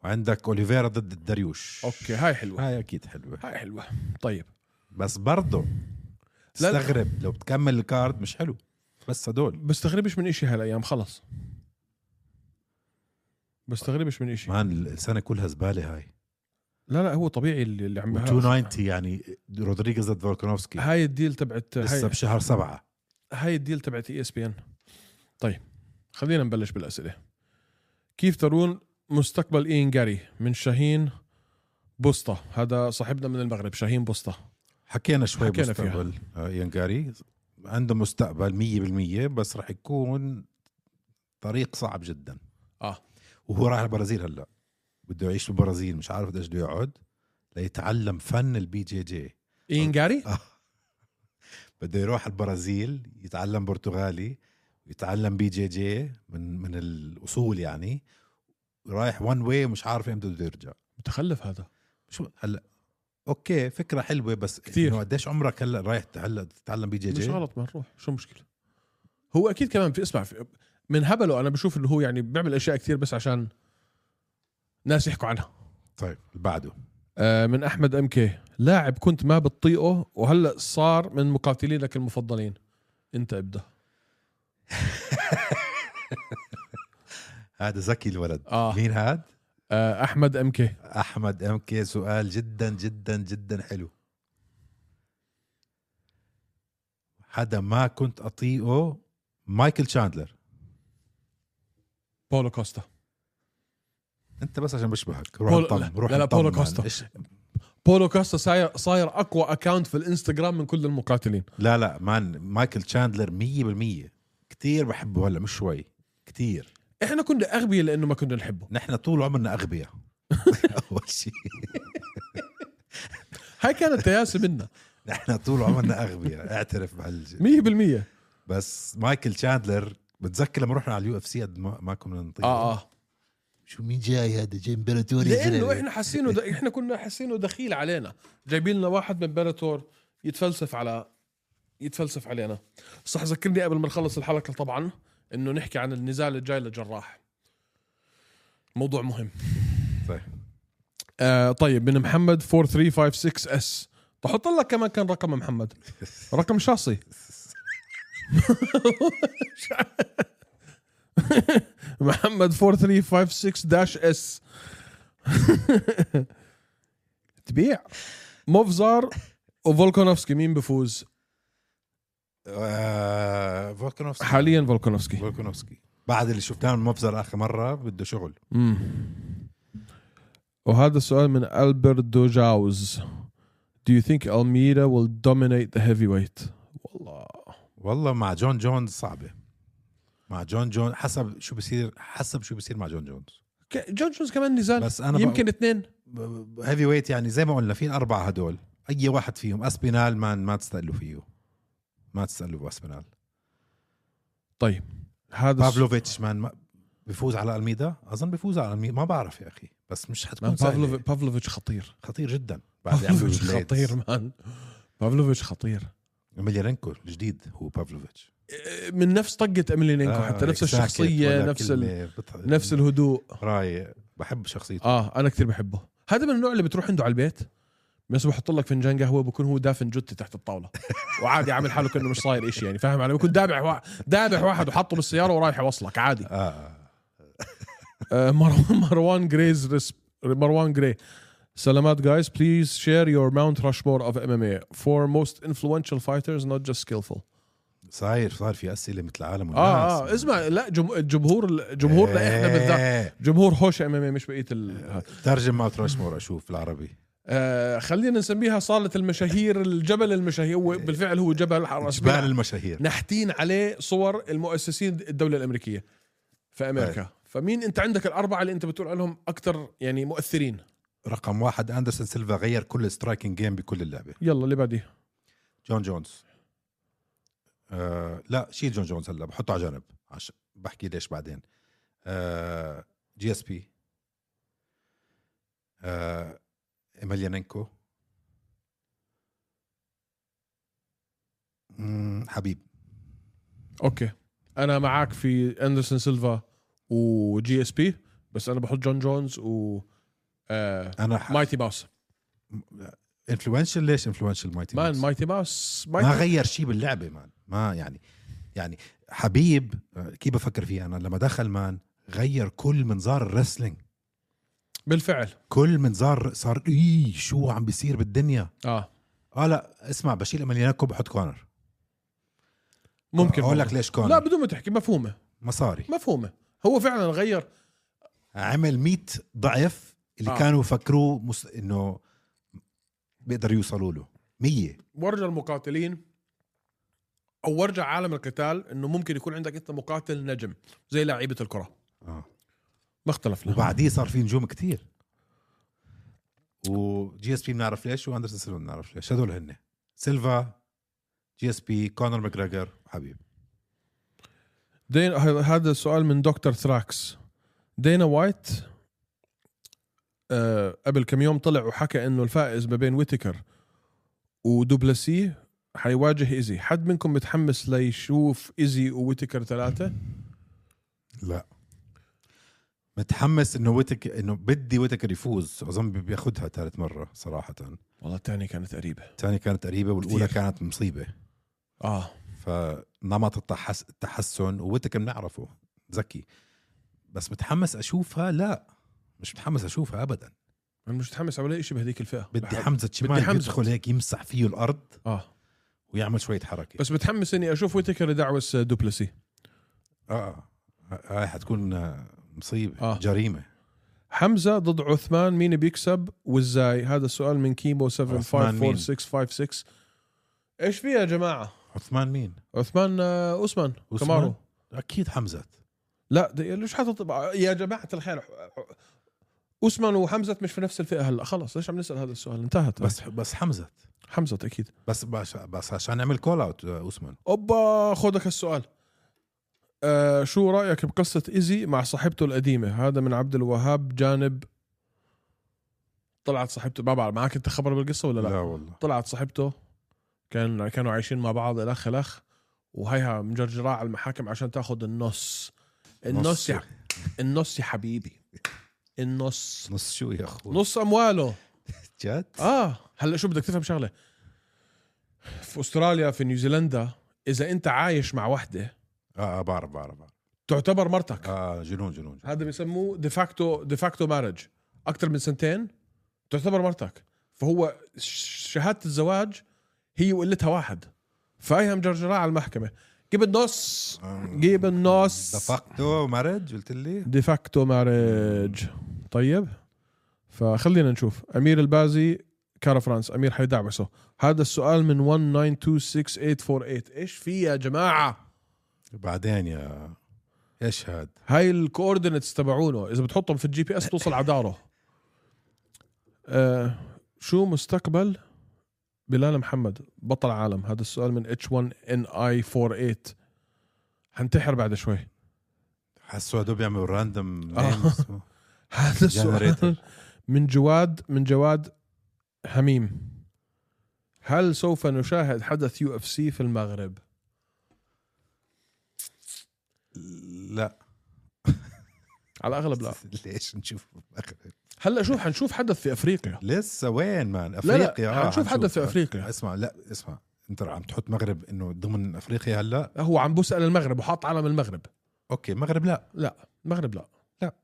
C: وعندك اوليفيرا ضد الدريوش
A: اوكي هاي حلوه
C: هاي اكيد حلوه
A: هاي حلوه طيب
C: بس برضه تستغرب لو بتكمل الكارد مش حلو بس هدول
A: بستغربش من إشي هالايام خلص بستغربش من إشي
C: مان السنه كلها زباله هاي
A: لا لا هو طبيعي اللي اللي عم
C: و290 يعني رودريغيز ضد فولكانوفسكي
A: هاي الديل تبعت هاي
C: لسه بشهر سبعة
A: هاي الديل E تبعت اي اس بي ان طيب خلينا نبلش بالاسئله كيف ترون مستقبل اين جاري من شاهين بوسطة هذا صاحبنا من المغرب شاهين بوسطة
C: حكينا شوي
A: حكينا
C: مستقبل آه، ينقاري عنده مستقبل مية بالمية بس رح يكون طريق صعب جدا
A: آه.
C: وهو رايح البرازيل هلا بده يعيش بالبرازيل مش عارف قديش بده يقعد ليتعلم فن البي جي جي
A: اين جاري
C: آه. بده يروح البرازيل يتعلم برتغالي يتعلم بي جي جي من من الاصول يعني رايح وان واي مش عارف امتى بده يرجع
A: متخلف هذا
C: شو هلا اوكي فكره حلوه بس
A: كتير.
C: إنه قديش عمرك هلا رايح ت- هلا تتعلم بي جي
A: مش
C: جي
A: غلط ما نروح شو المشكلة هو اكيد كمان في اسمع في من هبله انا بشوف انه هو يعني بيعمل اشياء كثير بس عشان ناس يحكوا عنها
C: طيب اللي بعده
A: آه، من احمد ام كي لاعب كنت ما بتطيقه وهلا صار من مقاتلينك المفضلين انت ابدا
C: هذا ذكي الولد
A: آه.
C: مين هاد
A: آه، احمد ام كي
C: احمد ام كي سؤال جدا جدا جدا حلو حدا ما كنت اطيقه مايكل شاندلر
A: بولو كوستا
C: انت بس عشان بشبهك روح
A: بول-
C: انطم
A: لا-
C: روح
A: لا- لا،
C: انطم،
A: بولو
C: مان.
A: كوستا.
C: إيش-
A: بولو كاستا صاير صاير اقوى اكاونت في الانستغرام من كل المقاتلين
C: لا لا مان مايكل شاندلر 100% كتير بحبه هلا مش شوي كتير
A: احنا كنا اغبياء لانه ما كنا نحبه
C: نحن طول عمرنا اغبياء اول شيء
A: هاي كانت تياسه منا
C: نحن طول عمرنا اغبياء اعترف بهال
A: 100%
C: بس مايكل شاندلر بتذكر لما رحنا على اليو اف سي قد ما طيب. ما كنا نطيق
A: اه اه
D: شو مين جاي هذا جاي امبراطوري
A: لانه
D: زلمة.
A: احنا حاسينه د... احنا كنا حاسينه دخيل علينا جايبين لنا واحد من بلاتور يتفلسف على يتفلسف علينا صح ذكرني قبل ما نخلص الحلقه طبعا انه نحكي عن النزال الجاي لجراح موضوع مهم
C: طيب.
A: آه طيب من محمد 4356 اس بحط لك كمان كان رقم محمد رقم شخصي محمد 4356 داش اس تبيع مفزار وفولكانوفسكي مين بفوز
C: آه، فولكانوفسكي
A: حاليا فولكانوفسكي
C: فولكانوفسكي بعد اللي شفناه من مبزر اخر مره بده شغل
A: مم. وهذا السؤال من ألبرت دوجاوز Do you think Almeida will dominate the heavyweight؟ والله
C: والله مع جون جونز صعبه مع جون جونز حسب شو بصير حسب شو بصير مع جون جونز
A: ك- جون جونز كمان نزال
C: بس أنا
A: يمكن اثنين
C: هيفي ويت يعني زي ما قلنا في الاربعه هدول اي واحد فيهم اسبينال ما ما تستقلوا فيه ما تستقلوا باسبينال
A: طيب هذا الس-
C: بافلوفيتش مان ما بيفوز على الميدا اظن بيفوز على الميدا ما بعرف يا اخي بس مش
A: مان
C: حتكون
A: بافلوف...
C: سهله
A: بافلوفيتش خطير
C: خطير جدا بعد اللي عمله
A: بافلوفيتش
C: بالبليدز.
A: خطير مان بافلوفيتش خطير
C: ميليرينكو الجديد هو بافلوفيتش
A: من نفس طقة اميلينكو
C: آه،
A: حتى نفس
C: هيك ساكت
A: الشخصية
C: ولا
A: نفس ال...
C: كلمة، بت-
A: نفس الهدوء
C: رايق بحب شخصيته
A: اه انا كثير بحبه هذا من النوع اللي بتروح عنده على البيت بس بحط لك فنجان قهوه بكون هو دافن جثه تحت الطاوله وعادي عامل حاله كانه مش صاير إشي يعني فاهم علي بكون دابح وا... دابح واحد وحطه بالسياره ورايح يوصلك عادي
C: آه، آه.
A: آه مروان مروان جريز رسب... مروان جري سلامات guys please share your Mount Rushmore of MMA for most influential fighters not just skillful
C: صاير صار في اسئله مثل العالم
A: اه اه اسمع لا جم... الجمهور جمهورنا احنا بالذات جمهور هوش ام ام مش بقيه ال...
C: ترجم ماوت راشمور اشوف بالعربي
A: آه خلينا نسميها صالة المشاهير الجبل المشاهير هو بالفعل هو جبل حراس
C: جبال المشاهير
A: نحتين عليه صور المؤسسين الدولة الأمريكية
C: طيب.
A: في أمريكا فمين أنت عندك الأربعة اللي أنت بتقول عنهم أكثر يعني مؤثرين
C: رقم واحد اندرسون سيلفا غير كل سترايكنج جيم بكل اللعبه
A: يلا اللي بعديه
C: جون جونز آه لا شيل جون جونز هلا بحطه على جنب عش... بحكي ليش بعدين آه جي اس بي آه إيميليانينكو مم، حبيب
A: أوكي أنا معاك في أندرسون سيلفا وجي اس بي بس أنا بحط جون جونز و آه
C: انا
A: مايتي باوس
C: انفلونشل ليش انفلونشل مايتي
A: مان
C: ماكس؟
A: مايتي باوس
C: ما
A: مايتي
C: غير شيء باللعبه مان ما يعني يعني حبيب آه، كيف بفكر فيها انا لما دخل مان غير كل منظار الرسلينج
A: بالفعل
C: كل منظار صار اي شو عم بيصير بالدنيا
A: اه
C: اه لا اسمع بشيل امليانكو بحط كونر
A: ممكن
C: اقول لك
A: والله.
C: ليش
A: لا
C: كونر
A: بدون ما تحكي مفهومه
C: مصاري
A: مفهومه هو فعلا غير
C: عمل 100 ضعف اللي
A: آه.
C: آه. كانوا يفكروه مس... انه بيقدروا يوصلوا له 100
A: ورجى المقاتلين او ورجى عالم القتال انه ممكن يكون عندك انت مقاتل نجم زي لعيبه الكره
C: آه.
A: ما اختلفنا
C: وبعديه صار في نجوم كتير وجي اس بي بنعرف ليش واندرسون سيلفا بنعرف ليش هدول هن سيلفا جي اس بي كونر ماجريجر حبيب
A: دين ه- هذا السؤال من دكتور ثراكس دينا وايت آه قبل كم يوم طلع وحكى انه الفائز ما بين ويتكر ودوبلسي حيواجه ايزي حد منكم متحمس ليشوف ايزي وويتكر ثلاثه
C: لا متحمس انه ويتك انه بدي ويتكر يفوز اظن بي- بياخدها ثالث مره صراحه
A: والله الثانيه كانت قريبه
C: الثانيه كانت قريبه والاولى
A: كتير.
C: كانت مصيبه
A: اه
C: فنمط التحس... التحسن وويتكر بنعرفه ذكي بس متحمس اشوفها لا مش متحمس اشوفها ابدا
A: انا مش متحمس على اي شيء بهذيك الفئه
C: بدي
A: بحب-
C: حمزه شمال
A: حمزة.
C: يدخل هيك يمسح فيه الارض
A: اه
C: ويعمل شويه حركه
A: بس متحمس اني اشوف ويتكر يدعوس دوبلسي
C: اه هاي حتكون آه، مصيبه
A: آه.
C: آه. جريمه
A: حمزه ضد عثمان مين بيكسب وازاي هذا السؤال من كيمو
C: عثمان مين؟
A: 7544656 ايش في يا جماعه
C: عثمان مين
A: عثمان آه، اوسمان
C: عثمان؟
A: كمارو
C: اكيد حمزات
A: طيب. لا ده- ليش حاطط يا جماعه الخير اوسمان وحمزه مش في نفس الفئه هلا خلص ليش عم نسال هذا السؤال انتهت
C: بس بس حمزات
A: حمزه اكيد
C: بس بس, بس عشان نعمل كول اوت اوسمان
A: اوبا خدك السؤال آه شو رايك بقصه ايزي مع صاحبته القديمه هذا من عبد الوهاب جانب طلعت صاحبته ما بعرف معك انت خبر بالقصه ولا لا,
C: والله
A: طلعت صاحبته كان كانوا عايشين مع بعض الاخ الاخ وهيها مجرجراه على المحاكم عشان تاخذ النص النص يا النص يا حبيبي النص
C: نص شو يا اخوي
A: نص امواله
C: جد
A: اه هلا شو بدك تفهم شغله في استراليا في نيوزيلندا اذا انت عايش مع وحده
C: اه آه، بعرف بعرف بعرف
A: تعتبر مرتك
C: اه جنون جنون, جنون.
A: هذا بيسموه ديفاكتو ديفاكتو مارج اكثر من سنتين تعتبر مرتك فهو ش- شهاده الزواج هي وقلتها واحد فهي مجرجراه على المحكمه جيب النص جيب النص
C: دفقته مارج قلت لي
A: ديفاكتو مارج طيب فخلينا نشوف امير البازي كارا فرانس امير حيدعبسه هذا السؤال من 1926848 ايش في يا جماعه
C: بعدين يا ايش هاد
A: هاي الكوردينتس تبعونه اذا بتحطهم في الجي بي اس توصل على داره آه شو مستقبل بلال محمد بطل عالم هذا السؤال من اتش 1 ان اي 48 حنتحر بعد شوي
C: حسوا هدول بيعملوا راندوم
A: آه. هذا السؤال
C: جنريتر
A: من جواد من جواد حميم هل سوف نشاهد حدث يو اف سي في المغرب؟
C: لا
A: على الاغلب لا
C: ليش نشوف بالمغرب
A: هلا شوف حنشوف حدث في افريقيا
C: لسه وين مان
A: لا، لا،
C: افريقيا
A: حنشوف حدث في أفريقيا.
C: اسمع لا اسمع انت عم تحط مغرب انه ضمن افريقيا هلا
A: هو عم بسال المغرب وحاط علم المغرب
C: اوكي مغرب لا
A: لا المغرب لا
C: لا.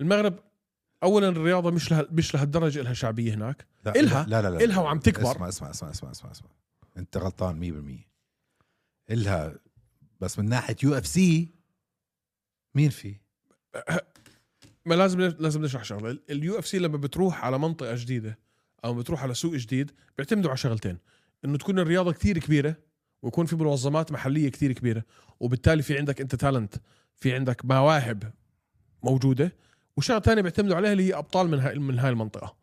A: المغرب اولا الرياضه مش لها مش لهالدرجه الها شعبيه هناك
C: لا
A: إلها-
C: لا لا, لا, لا
A: إلها وعم تكبر.
C: اسمع اسمع اسمع اسمع اسمع, اسمع. انت غلطان 100% الها بس من ناحيه يو اف سي مين في؟
A: ما لازم لازم نشرح شغله اليو اف سي لما بتروح على منطقه جديده او بتروح على سوق جديد بيعتمدوا على شغلتين انه تكون الرياضه كتير كبيره ويكون في منظمات محليه كتير كبيره وبالتالي في عندك انت تالنت في عندك مواهب موجوده وشغله ثانيه بيعتمدوا عليها اللي هي ابطال من هاي من هاي المنطقه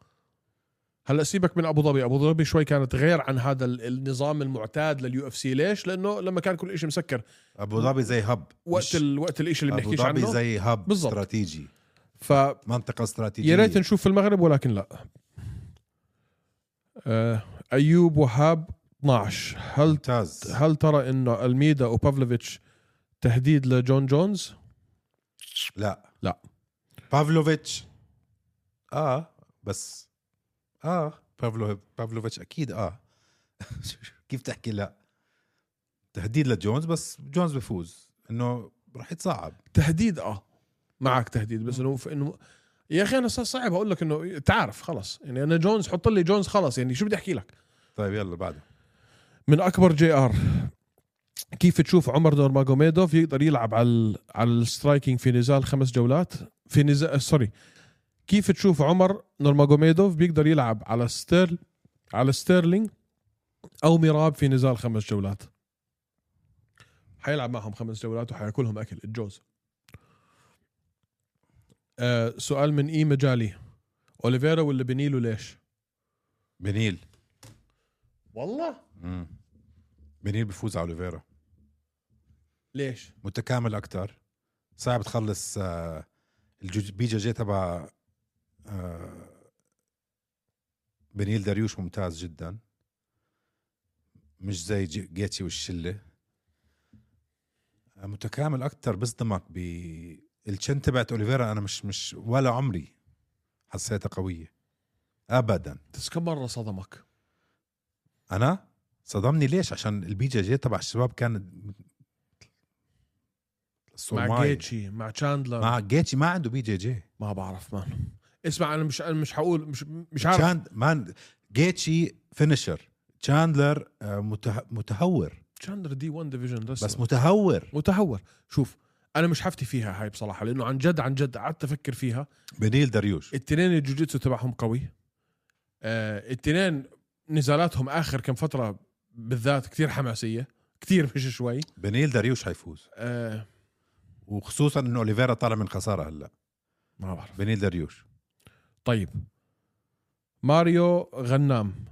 A: هلا سيبك من ابو ظبي ابو ظبي شوي كانت غير عن هذا ال- النظام المعتاد لليو اف سي ليش لانه لما كان كل شيء مسكر
C: ابو ظبي زي هب
A: وقت ال... وقت الشيء اللي
C: ابو
A: بنحكيش
C: ظبي
A: عنه زي...
C: زي هب
A: بالضبط.
C: استراتيجي
A: ف
C: منطقه استراتيجيه
A: يا ريت نشوف في المغرب ولكن لا آه، ايوب وهاب 12 هل
C: ممتاز
A: هل ترى انه الميدا وبافلوفيتش تهديد لجون جونز؟
C: لا
A: لا.
C: بافلوفيتش اه بس اه بافلو بافلوفيتش اكيد اه كيف تحكي لا تهديد لجونز بس جونز بفوز انه راح يتصعب
A: تهديد اه معك تهديد بس انه انه يا اخي انا صار صعب اقول لك انه تعرف خلص يعني انا جونز حط لي جونز خلص يعني شو بدي احكي لك؟
C: طيب يلا بعده
A: من اكبر جي ار كيف تشوف عمر نورماجوميدوف يقدر يلعب على ال- على السترايكينج في نزال خمس جولات في نزال سوري كيف تشوف عمر نورماجوميدوف بيقدر يلعب على ستير على ستيرلينج او ميراب في نزال خمس جولات حيلعب معهم خمس جولات وحياكلهم اكل الجوز آه سؤال من اي مجالي اوليفيرا ولا بنيلو ليش
C: بنيل
A: والله
C: مم. بنيل بفوز على اوليفيرا
A: ليش
C: متكامل اكثر صعب تخلص آه، الجوج- بي جي جي تبع آه، بنيل داريوش ممتاز جدا مش زي جي- جيتشي والشله آه، متكامل اكثر بصدمك ب الشن تبعت اوليفيرا انا مش مش ولا عمري حسيتها قويه ابدا
A: بس كم مره صدمك
C: انا صدمني ليش عشان البي جي جي تبع الشباب كان
A: مع
C: صومعي.
A: جيتشي مع تشاندلر
C: مع جيتشي ما عنده بي جي جي
A: ما بعرف مان اسمع انا مش انا مش حقول مش مش عارف
C: تشاند مان جيتشي فينشر تشاندلر آه، مته... متهور
A: تشاندلر دي 1 ديفيجن لسه
C: بس متهور
A: متهور شوف انا مش حفتي فيها هاي بصراحه لانه عن جد عن جد قعدت افكر فيها
C: بنيل دريوش
A: التنين الجوجيتسو تبعهم قوي آه التنين نزالاتهم اخر كم فتره بالذات كتير حماسيه كتير مش شوي
C: بنيل دريوش حيفوز
A: آه
C: وخصوصا انه اوليفيرا طالع من خساره هلا
A: ما بعرف
C: بنيل دريوش
A: طيب ماريو غنام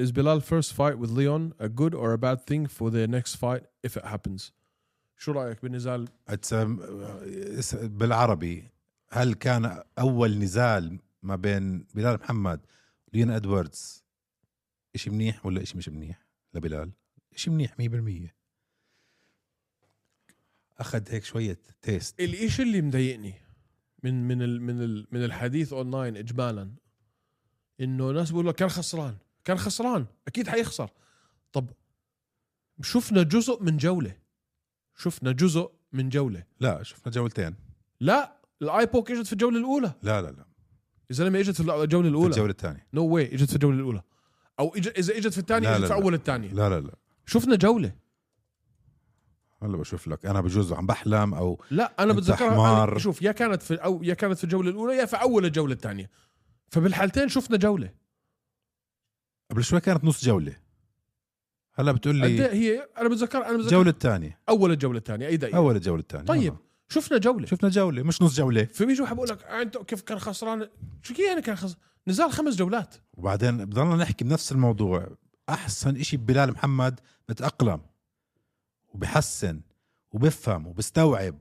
A: Is Bilal first fight with Leon a good or a bad thing for the next fight if it happens شو رايك بالنزال
C: It's a- اس- بالعربي هل كان اول نزال ما بين بلال محمد وليون ادواردز اشي منيح ولا اشي مش منيح لبلال اشي منيح 100% اخذ هيك شويه تيست
A: الإشي اللي مضايقني من من ال من ال من الحديث اونلاين اجمالا انه ناس بيقولوا لك كان خسران كان خسران اكيد حيخسر طب شفنا جزء من جوله شفنا جزء من جوله
C: لا شفنا جولتين
A: لا الاي بوك اجت في الجوله الاولى
C: لا لا لا
A: الزلمه اجت في الجوله
C: في
A: الاولى
C: الجوله الثانيه
A: نو no واي اجت في الجوله الاولى او إج... اذا اجت في الثانيه
C: لا،
A: اجت
C: لا،
A: في
C: لا.
A: اول الثانيه
C: لا لا لا
A: شفنا جوله
C: هلا بشوف لك انا بجوز عم بحلم او
A: لا انا
C: أنت
A: بتذكرها
C: حمار.
A: أنا- شوف يا كانت في او يا كانت في الجوله الاولى يا في اول الجوله الثانيه فبالحالتين شفنا جوله
C: قبل شوي كانت نص جوله هلا بتقول
A: قد
C: لي
A: إيه هي انا بتذكر انا بتذكر
C: الجوله الثانيه
A: اول الجوله الثانيه اي دقيقه أول.
C: اول الجوله الثانيه
A: طيب. شفنا جوله شوف.
C: شفنا جوله مش نص جوله
A: فبيجي واحد بقول لك آه، انت كيف كان خسران شو كي يعني كان خسران نزال خمس جولات
C: وبعدين بضلنا نحكي بنفس الموضوع احسن إشي ببلال محمد بتاقلم وبحسن وبفهم وبستوعب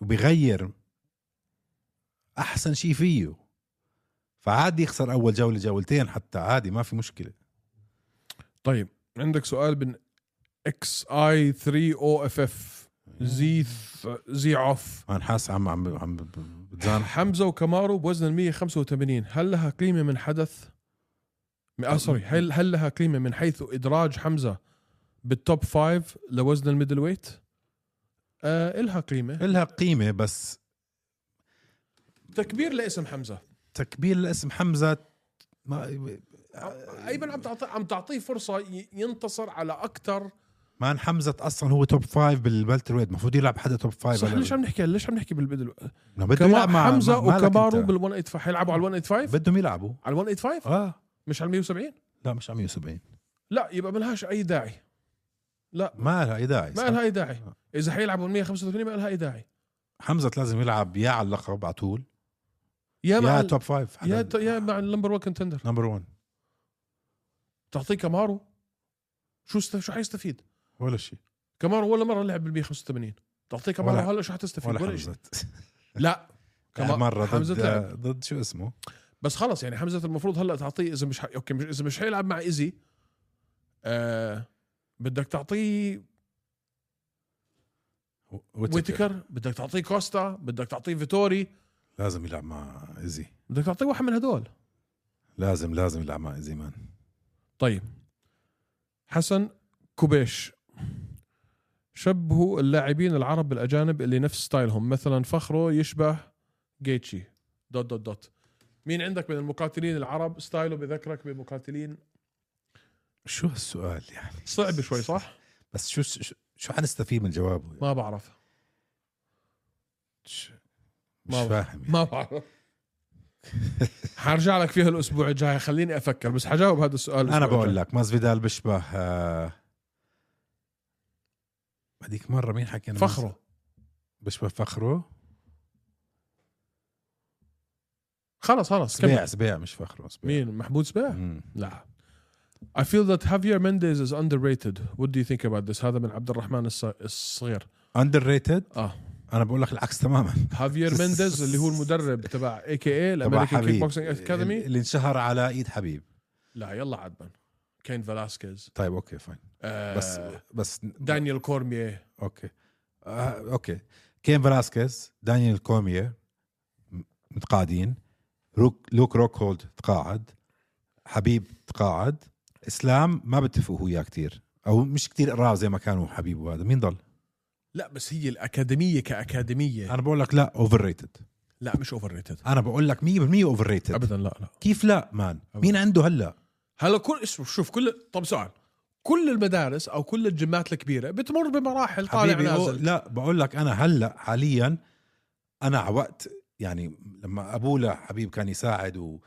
C: وبغير احسن شيء فيه فعادي يخسر اول جوله جولتين حتى عادي ما في مشكله
A: طيب عندك سؤال من اكس اي 3 او اف اف زي زي عف
C: انا حاسس عم عم عم بتزان
A: حمزه وكمارو بوزن ال 185 هل لها قيمه من حدث آه سوري هل هل لها قيمه من حيث ادراج حمزه بالتوب فايف لوزن الميدل ويت؟ آه الها قيمه
C: إلها قيمه بس
A: تكبير لاسم حمزه
C: تكبير الاسم حمزه ما
A: ايمن آه، عم تعطي عم تعطيه فرصه ي- ينتصر على اكثر
C: مان حمزه اصلا هو توب فايف بالبلتر ويت المفروض يلعب حدا توب فايف
A: صح ليش عم نحكي ليش عم نحكي بالبدل
C: ما بده يلعب
A: كمان
C: مع
A: حمزه
C: مع- مالك
A: وكبارو
C: أنت.
A: بال 185 حيلعبوا على ال 185
C: بدهم يلعبوا
A: على ال 185
C: اه
A: مش على ال 170
C: لا مش إيه. 170
A: لا يبقى ما لهاش اي داعي
C: ما لها اي داعي
A: ما
C: صح؟
A: لها اي داعي اذا حيلعبوا ال 185 ما لها اي داعي
C: حمزه لازم يلعب يا على اللقب على طول
A: يا مع
C: يا
A: ال-
C: توب فايف
A: يا ت- يا مع النمبر 1 كونتندر
C: نمبر 1
A: تعطيه كامارو شو است... شو حيستفيد؟
C: ولا شيء
A: كامارو ولا مره لعب بال 185 تعطيه كامارو
C: ولا-
A: هلا شو حتستفيد
C: ولا
A: ولا, ولا شيء
C: حمزه
A: لا
C: كمان
A: كمان-
C: مره
A: حمزة
C: ضد
A: لعب.
C: ضد شو اسمه
A: بس خلص يعني حمزه المفروض هلا تعطيه اذا مش ح... اوكي مش... اذا مش حيلعب مع ايزي آه... بدك تعطيه
C: ويتكر.
A: ويتكر بدك تعطيه كوستا بدك تعطيه فيتوري
C: لازم يلعب مع ايزي
A: بدك تعطيه واحد من هدول
C: لازم لازم يلعب مع ايزي مان
A: طيب حسن كوبيش شبهوا اللاعبين العرب بالأجانب اللي نفس ستايلهم مثلا فخرو يشبه جيتشي دوت دوت دوت مين عندك من المقاتلين العرب ستايله بذكرك بمقاتلين
C: شو هالسؤال يعني
A: صعب شوي صح؟
C: بس شو شو- شو حنستفيد من جوابه يعني؟
A: ما بعرف
C: مش مش
A: ما-
C: فاهم يعني.
A: ما بعرف حرجع لك فيها الاسبوع الجاي خليني افكر بس حجاوب هذا السؤال
C: انا بقول لك مازفيدال بيشبه آه، هذيك مره مين حكى أنا
A: فخره
C: بيشبه فخره
A: خلص خلص كمل.
C: سبيع سبيع مش فخره سبيع
A: مين محمود سباع
C: مم.
A: لا I feel that Javier Mendez is underrated what do you think about this هذا من عبد الرحمن الص- الصغير
C: اندر ريتد
A: اه
C: انا بقول لك العكس تماما
A: هافير مينديز اللي هو المدرب تبع اي كي اي
C: تبع
A: الامريكان كيك
C: حبيب
A: بوكسينج اكاديمي
C: اللي انشهر على ايد حبيب
A: لا يلا عدبان كين فلاسكيز
C: طيب اوكي فاين
A: آه
C: بس بس
A: دانيال كورميه
C: اوكي آه اوكي كين فلاسكيز دانيال كوميا م- متقاعدين روك لوك روكهولد تقاعد حبيب تقاعد اسلام ما بتفقوا هو وياه كثير او مش كثير قراب زي ما كانوا حبيب وهذا مين ضل؟
A: لا بس هي الاكاديميه كاكاديميه
C: انا بقول لك لا اوفر ريتد
A: لا مش اوفر ريتد
C: انا بقول لك 100% اوفر ريتد
A: ابدا لا لا
C: كيف لا مان؟ مين عنده هلا؟
A: هلا كل اسمه شوف كل طب سؤال كل المدارس او كل الجيمات الكبيره بتمر بمراحل طالع
C: حبيبي أو-
A: نازل
C: لا بقول لك انا هلا حاليا انا على وقت يعني لما ابولا حبيب كان يساعد و...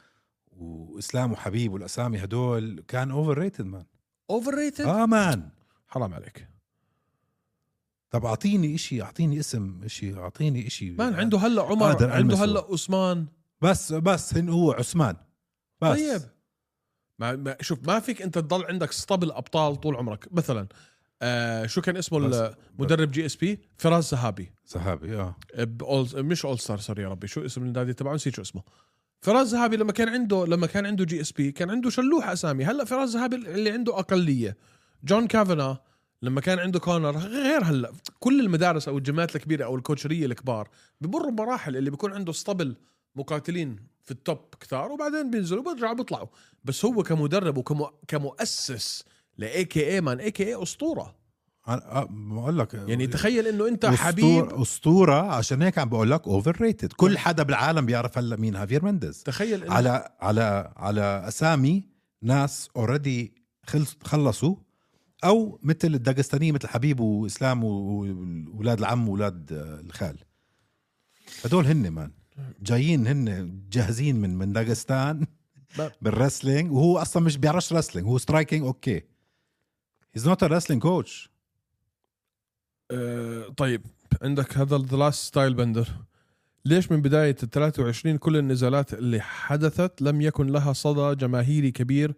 C: واسلام وحبيب والاسامي هدول كان اوفر ريتد مان
A: اوفر ريتد
C: اه مان
A: حرام عليك
C: طب اعطيني إشي اعطيني اسم إشي اعطيني إشي
A: مان عنده هلا
C: يعني قادر
A: عمر عنده
C: ألمسه.
A: هلا عثمان
C: بس بس هن هو عثمان بس
A: طيب ما, ما شوف ما فيك انت تضل عندك اسطبل ابطال طول عمرك مثلا آه شو كان اسمه
C: بس-
A: المدرب جي اس بي فراس سهابي
C: سحابي اه
A: بأول مش اول ستار سوري يا ربي شو اسم النادي تبعه نسيت شو اسمه فراس ذهبي لما كان عنده لما كان عنده جي اس بي كان عنده شلوح اسامي هلا فراس ذهبي اللي عنده اقليه جون كافانا لما كان عنده كونر غير هلا كل المدارس او الجامعات الكبيره او الكوتشريه الكبار بمروا بمراحل اللي بيكون عنده اسطبل مقاتلين في التوب كثار وبعدين بينزلوا وبيرجعوا بيطلعوا بس هو كمدرب وكمؤسس لاي كي اي مان اي كي اي اسطوره
C: أنا- آه، بقول لك
A: يعني تخيل انه انت
C: أسطور-
A: حبيب
C: اسطوره عشان هيك عم بقول لك اوفر ريتد
A: طيب.
C: كل حدا بالعالم بيعرف هلا مين هافير مندز
A: تخيل انه
C: على على على اسامي ناس اوريدي خلص خلصوا او مثل الداغستانيه مثل حبيب واسلام واولاد العم واولاد الخال هدول هن مان جايين هن جاهزين من من داغستان
A: ما-
C: بالرسلينج وهو اصلا مش بيعرفش رسلينج هو سترايكينج اوكي هيز نوت ا رسلينج كوتش
A: آه، طيب عندك هذا ذا لاست ستايل بندر ليش من بداية ال 23 كل النزالات اللي حدثت لم يكن لها صدى جماهيري كبير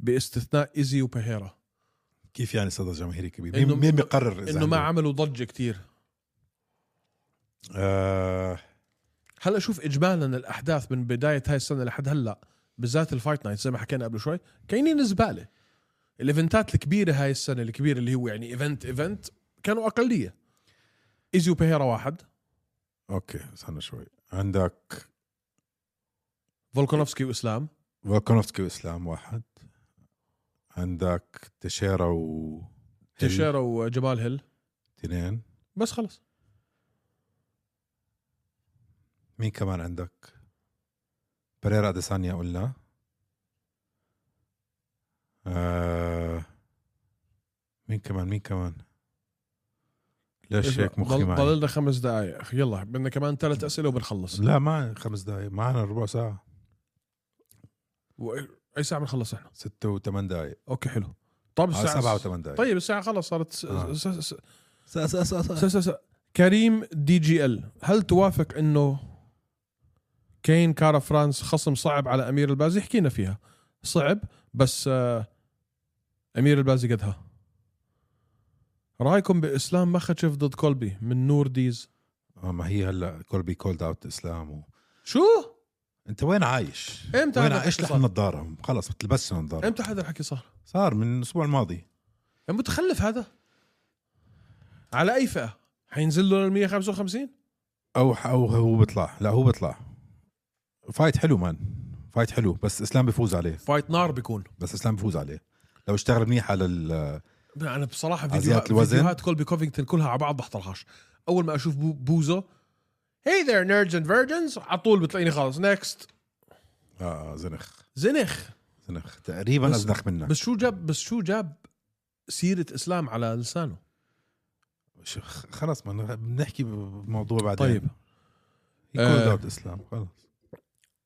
A: باستثناء ايزي وبهيرا
C: كيف يعني صدى جماهيري كبير
A: إنه-
C: مين مين بيقرر إذا
A: انه ما
C: عنده-
A: عملوا ضجة كتير
C: آه
A: هلا شوف اجمالا الاحداث من بداية هاي السنة لحد هلا بالذات الفايت نايت زي ما حكينا قبل شوي كاينين زبالة الايفنتات الكبيرة هاي السنة الكبيرة اللي هو يعني ايفنت ايفنت كانوا اقلية ايزي وبهيرا واحد
C: اوكي استنى شوي عندك
A: فولكونوفسكي واسلام
C: فولكانوفسكي واسلام واحد عندك تشيرا و
A: تيشيرا وجمال هيل
C: اثنين
A: بس خلص
C: مين كمان عندك؟ بريرا اديسانيا قلنا آه... مين كمان مين كمان؟ ليش هيك مخي
A: ضل-
C: معي؟
A: ضل لنا خمس دقائق أخي، يلا بدنا كمان ثلاث اسئله وبنخلص
C: لا ما خمس دقائق معنا ربع ساعة
A: و- اي ساعه بنخلص احنا
C: ستة وثمان دقائق
A: اوكي حلو طب
C: آه،
A: الساعه
C: سبعة وثمان دقائق
A: طيب الساعه خلص صارت س...
C: آه.
A: س... س...
C: س- س- س- س-
A: س... س... س... كريم دي جي ال هل توافق انه كين كارا فرانس خصم صعب على امير البازي حكينا فيها صعب بس آه، امير البازي قدها رايكم باسلام مخشف ضد كولبي من نور ديز
C: آه ما هي هلا كولبي كولد اوت اسلام و...
A: شو
C: انت وين عايش؟
A: إمتى
C: وين
A: هذا
C: عايش
A: الحكي
C: لحم نظارة خلص ما تلبسش نظارة
A: امتى هذا الحكي صار
C: صار من الاسبوع الماضي
A: متخلف هذا على اي فئه حينزل له ال 155
C: او او هو بيطلع لا هو بيطلع فايت حلو مان فايت حلو بس اسلام بيفوز عليه
A: فايت نار بيكون
C: بس اسلام بيفوز عليه لو اشتغل منيح على ال- آه،
A: انا بصراحه
C: عزيات
A: فيديوهات,
C: الوزن.
A: فيديوهات كولبي كوفينغتون كلها على بعض بحضرهاش اول ما اشوف بو بوزو هي ذير نيردز اند فيرجنز على طول بتلاقيني خلص نيكست
C: آه زنخ
A: زنخ
C: زنخ تقريبا
A: بس-
C: ازنخ منك
A: بس شو جاب بس شو جاب سيره اسلام على لسانه
C: شو- خ- خلص ما نح- بنحكي بموضوع بعدين
A: طيب آه.
C: كولد اسلام خلص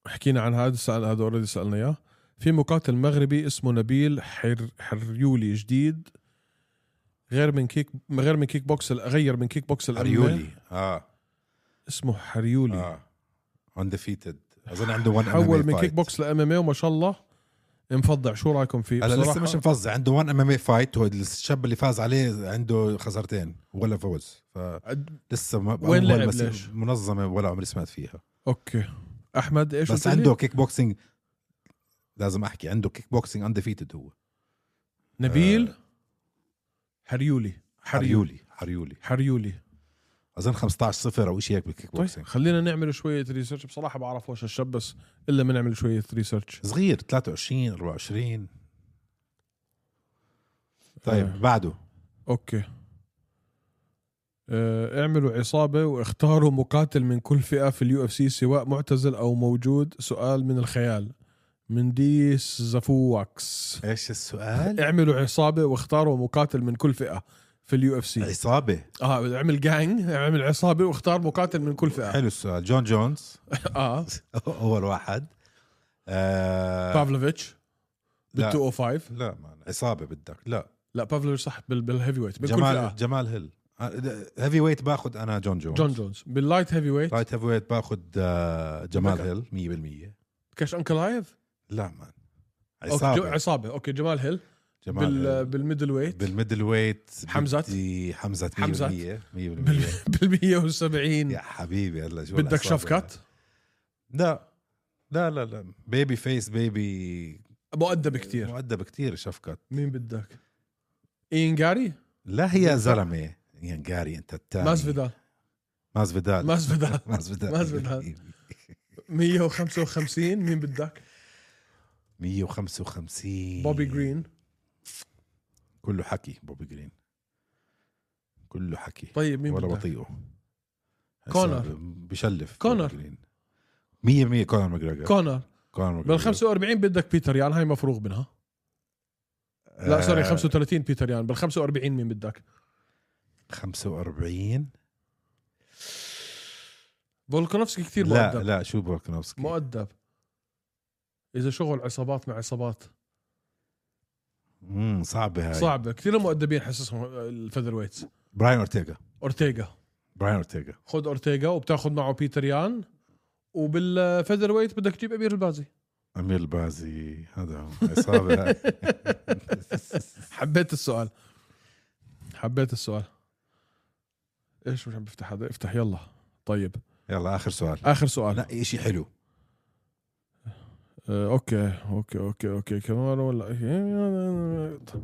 A: حكينا عن هذا سأل هذا اوريدي سالنا اياه في مقاتل مغربي اسمه نبيل حر حريولي جديد غير من كيك غير من كيك بوكس غير من كيك بوكس الأمة.
C: اريولي اه
A: اسمه حريولي آه.
C: اه اندفيتد اظن عنده 1
A: حول من كيك بوكس لام ام وما شاء الله مفضع شو رايكم فيه
C: هلا لسه
A: بصراحة
C: مش مفظع عنده 1 ام ام اي فايت هو الشاب اللي فاز عليه عنده خسارتين ولا فوز فلسه
A: أد-
C: ما
A: وين
C: أول
A: لعب
C: بس-
A: ليش؟
C: منظمه ولا عمري سمعت فيها
A: اوكي احمد ايش
C: بس
A: قلت لي؟
C: عنده كيك بوكسينج لازم احكي عنده كيك بوكسينج اندفيتد هو
A: نبيل آه. حريولي حريولي
C: حريولي حريولي
A: حريولي
C: اظن 15 صفر او شيء هيك بالكيك
A: طيب
C: بوكسينج
A: خلينا نعمل شويه ريسيرش بصراحه بعرف وش الشاب بس الا ما نعمل شويه ريسيرش
C: صغير 23 24 طيب
A: آه.
C: بعده
A: اوكي آه، اعملوا عصابة واختاروا مقاتل من كل فئة في اليو اف سي سواء معتزل او موجود سؤال من الخيال من ديس زفوكس
C: ايش السؤال؟
A: اعملوا عصابة واختاروا مقاتل من كل فئة في اليو اف سي
C: عصابه
A: اه اعمل جانج اعمل عصابة واختار مقاتل من كل فئة
C: حلو السؤال جون جونز
A: اه
C: اول واحد آه
A: بافلوفيتش بال
C: لا.
A: 205
C: لا ما عصابه بدك لا
A: لا بافلوفيتش صح بال- بالهيفي ويت بكل
C: جمال
A: فئة
C: جمال هيل آه، هيفي ويت باخذ انا جون جونز
A: جون جونز باللايت هيفي ويت
C: رايت هيفي ويت باخذ آه، جمال هيل 100%
A: كاش انكل هايف
C: لا مان
A: عصابة.
C: عصابه
A: عصابه اوكي جمال هيل
C: جمال
A: بال
C: بال...
A: بالميدل ويت
C: بالميدل ويت
A: حمزة.
C: بدي حمزه 100%
A: حمزة.
C: 100%
A: بال 170
C: يا حبيبي هلا شو
A: بدك
C: العصابة؟
A: شفكات
C: لا لا لا لا بيبي فيس بيبي
A: مؤدب كتير
C: مؤدب كثير شفكات
A: مين بدك اين جاري
C: لا هي زلمه يعني جاري انت التاني
A: ماس فيدال
C: ماس فيدال
A: ماس فيدال
C: ماس فيدال
A: ماس فيدال. 155 مين بدك
C: 155
A: بوبي جرين
C: كله حكي بوبي جرين كله حكي
A: طيب مين
C: ولا
A: بدك
C: بطيئه هسا
A: كونر.
C: بشلف
A: كونر.
C: بوبي جرين. 100% كونر ماجراجر
A: كونر
C: كونر ماجراجر
A: بال 45 بدك بيتر يان هاي مفروغ منها
C: آه.
A: لا سوري 35 بيتر يان بال 45 مين بدك
C: 45
A: فولكانوفسكي كثير مؤدب
C: لا لا شو بولكنوفسكي
A: مؤدب اذا شغل عصابات مع عصابات
C: امم صعبه هاي
A: صعبه كثير مؤدبين حسسهم الفيذر ويتس
C: براين اورتيغا
A: اورتيغا
C: براين اورتيغا
A: خذ اورتيغا وبتاخذ معه بيتر يان وبالفيذر ويت بدك تجيب امير البازي
C: امير البازي هذا هو. عصابه هاي
A: حبيت السؤال حبيت السؤال ايش مش عم بفتح هذا افتح يلا طيب
C: يلا اخر سؤال
A: اخر سؤال
C: نقي شيء حلو
A: طيب، آه، اوكي اوكي اوكي اوكي كمان ولا إيه، طب.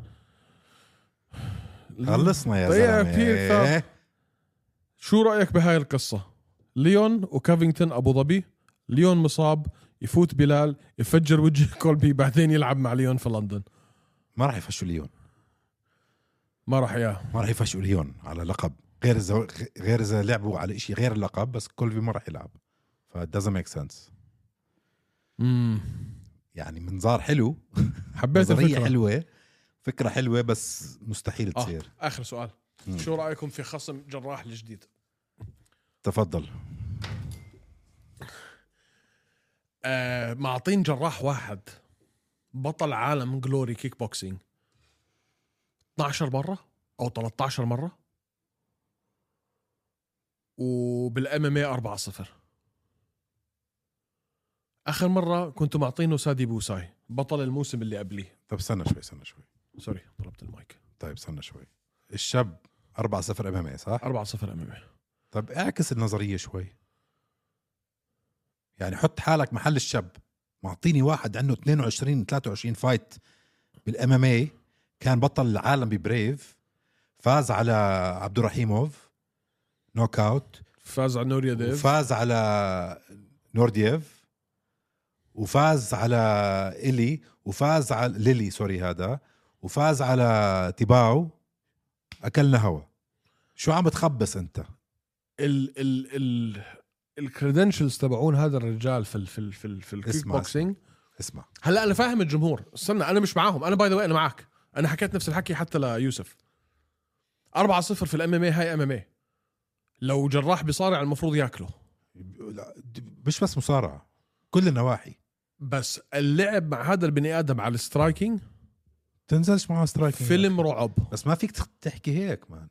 C: خلصنا يا
A: طيب،
C: زلمه
A: في كتاب. شو رايك بهاي القصه ليون وكافينغتون ابو ظبي ليون مصاب يفوت بلال يفجر وجه كولبي بعدين يلعب مع ليون في لندن
C: ما راح يفشوا ليون
A: ما راح اياه
C: ما راح يفشوا ليون على لقب غير اذا غير اذا لعبوا على شيء غير اللقب بس كولفي ما راح يلعب ف doesn't make sense
A: امم
C: يعني منظار حلو
A: حبيت
C: نظريه
A: الفكره حلو.
C: حلوه فكره حلوه بس مستحيل
A: آه.
C: تصير
A: اخر سؤال
C: مم.
A: شو رايكم في خصم جراح الجديد
C: تفضل
A: آه معطين جراح واحد بطل عالم جلوري كيك بوكسينج 12 مره او 13 مره وبالام ام اي 4 0 اخر مره كنتوا معطينه سادي بوساي بطل الموسم اللي قبليه
C: طب استنى شوي استنى شوي
A: سوري طلبت المايك
C: طيب استنى شوي الشاب 4 0 ام ام إيه، صح
A: 4 0 ام ام اي
C: طب طيب اعكس النظريه شوي يعني حط حالك محل الشاب معطيني واحد عنده 22 23 فايت بالام ام اي كان بطل العالم ببريف فاز على عبد الرحيموف نوك اوت
A: فاز على نوريا ديف
C: وفاز على نوردييف وفاز على الي وفاز على ليلي سوري هذا وفاز على تيباو اكلنا هوا شو عم تخبص انت
A: ال ال ال الكريدنشلز تبعون هذا الرجال في ال في ال في, ال في الكيك
C: اسمع،
A: بوكسينج
C: اسمع
A: هلا انا فاهم الجمهور استنى انا مش معاهم انا باي ذا انا معك انا حكيت نفس الحكي حتى ليوسف 4 0 في الام ام هاي ام ام لو جراح بصارع المفروض ياكله
C: لا د- مش بس مصارعه كل النواحي
A: بس اللعب مع هذا البني ادم على السترايكينج
C: تنزلش معه سترايكينج
A: فيلم رعب
C: بس ما فيك تخ- تحكي هيك مان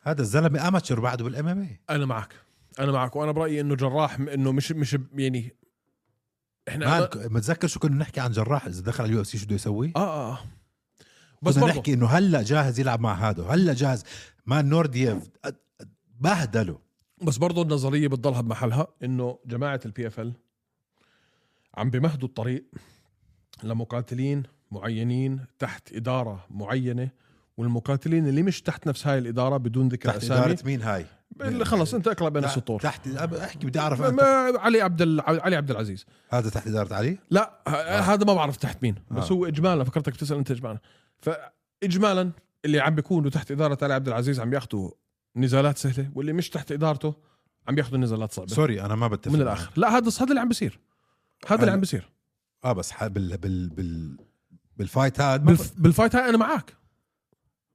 C: هذا الزلمه اماتشر بعده بالام ام اي
A: انا معك انا معك وانا برايي انه جراح م- انه مش مش يعني احنا أنا-
C: متذكر شو كنا نحكي عن جراح اذا دخل على اليو اف سي شو بده يسوي؟
A: اه اه نعم، آه. بس
C: بس كنا
A: برضه
C: نحكي انه هلا جاهز يلعب مع هذا هلا جاهز ما نوردييف أ- أ- بهدله
A: بس برضو النظريه بتضلها بمحلها انه جماعه البي اف ال عم بمهدوا الطريق لمقاتلين معينين تحت اداره معينه والمقاتلين اللي مش تحت نفس هاي الاداره بدون ذكر
C: تحت
A: اسامي
C: اداره مين هاي؟
A: اللي خلص انت اقلع بين
C: تحت-
A: السطور
C: تحت أب- احكي بدي اعرف أنا تحت-
A: ما- علي عبد ال- علي عبد العزيز
C: هذا تحت اداره علي؟
A: لا ه- هذا ما بعرف تحت مين بس
C: آه.
A: هو اجمالا فكرتك بتسال انت اجمالا فاجمالا اللي عم بيكونوا تحت اداره علي عبد العزيز عم ياخذوا نزالات سهله واللي مش تحت ادارته عم ياخذوا نزالات صعبه
C: سوري انا ما بتفق
A: من
C: معك.
A: الاخر لا هذا هذا اللي عم بيصير هذا اللي
C: هلا.
A: عم بيصير
C: اه بس ح- بال بال بال بالفايت هذا ما
A: بالف... بالفايت هاي انا معك
C: ب-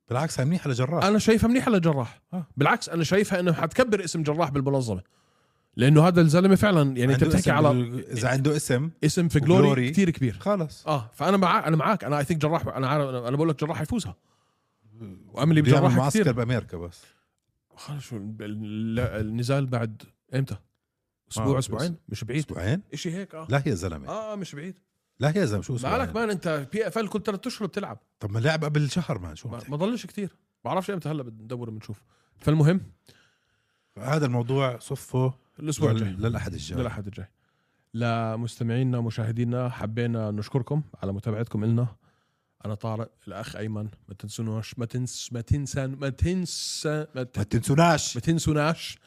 C: بالعكس هاي منيحه لجراح
A: انا شايفها منيحه لجراح
C: آه.
A: بالعكس انا شايفها انه حتكبر اسم جراح بالمنظمه لانه هذا الزلمه فعلا يعني انت
C: عنده
A: بتحكي
C: اسم
A: على
C: بال- اذا عنده اسم
A: اسم في جلوري
C: وجلوري.
A: كثير كبير
C: خلص
A: اه فانا معك انا معك انا اي ثينك جراح انا عارف انا بقول لك جراح يفوزها واملي
C: بيعمل
A: بجراح
C: معسكر
A: كثير
C: بامريكا بس
A: خلص شو ال- ال- النزال بعد امتى؟ اسبوع
C: آه،
A: اسبوعين مش بعيد
C: اسبوعين
A: شيء هيك اه
C: لا يا زلمه
A: اه آه، مش بعيد
C: لا يا زلمه شو اسبوعين
A: مالك مان انت بي اف ال كل ثلاث اشهر بتلعب
C: طب ما اللعب قبل شهر مان شو عم
A: ما
C: تحكي؟
A: ما ضلش كثير بعرفش امتى هلا بندور بنشوف فالمهم
C: هذا الموضوع صفه
A: الاسبوع
C: لل-
A: الجاي
C: للاحد الجاي
A: للاحد الجاي لمستمعينا مشاهدينا حبينا نشكركم على متابعتكم إلنا انا طارق الاخ ايمن ما تنسوناش ما تنس ما تنسى ما تنسى ما, ت...
C: ما تنسوناش
A: ما تنسوناش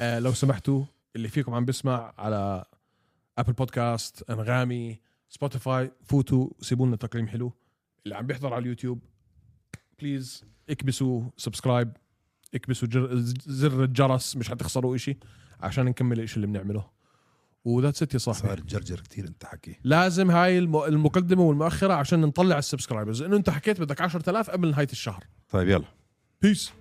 A: آه لو سمحتوا اللي فيكم عم بيسمع على ابل بودكاست انغامي سبوتيفاي فوتوا سيبوا لنا تقييم حلو اللي عم بيحضر على اليوتيوب بليز اكبسوا سبسكرايب اكبسوا جر... زر الجرس مش حتخسروا إشي عشان نكمل الإشي اللي بنعمله وذاتس ات يا صاحبي
C: صار تجرجر كثير انت حكي
A: لازم هاي الم... المقدمه والمؤخره عشان نطلع السبسكرايبرز لانه انت حكيت بدك 10000 قبل نهايه الشهر
C: طيب يلا
A: بيس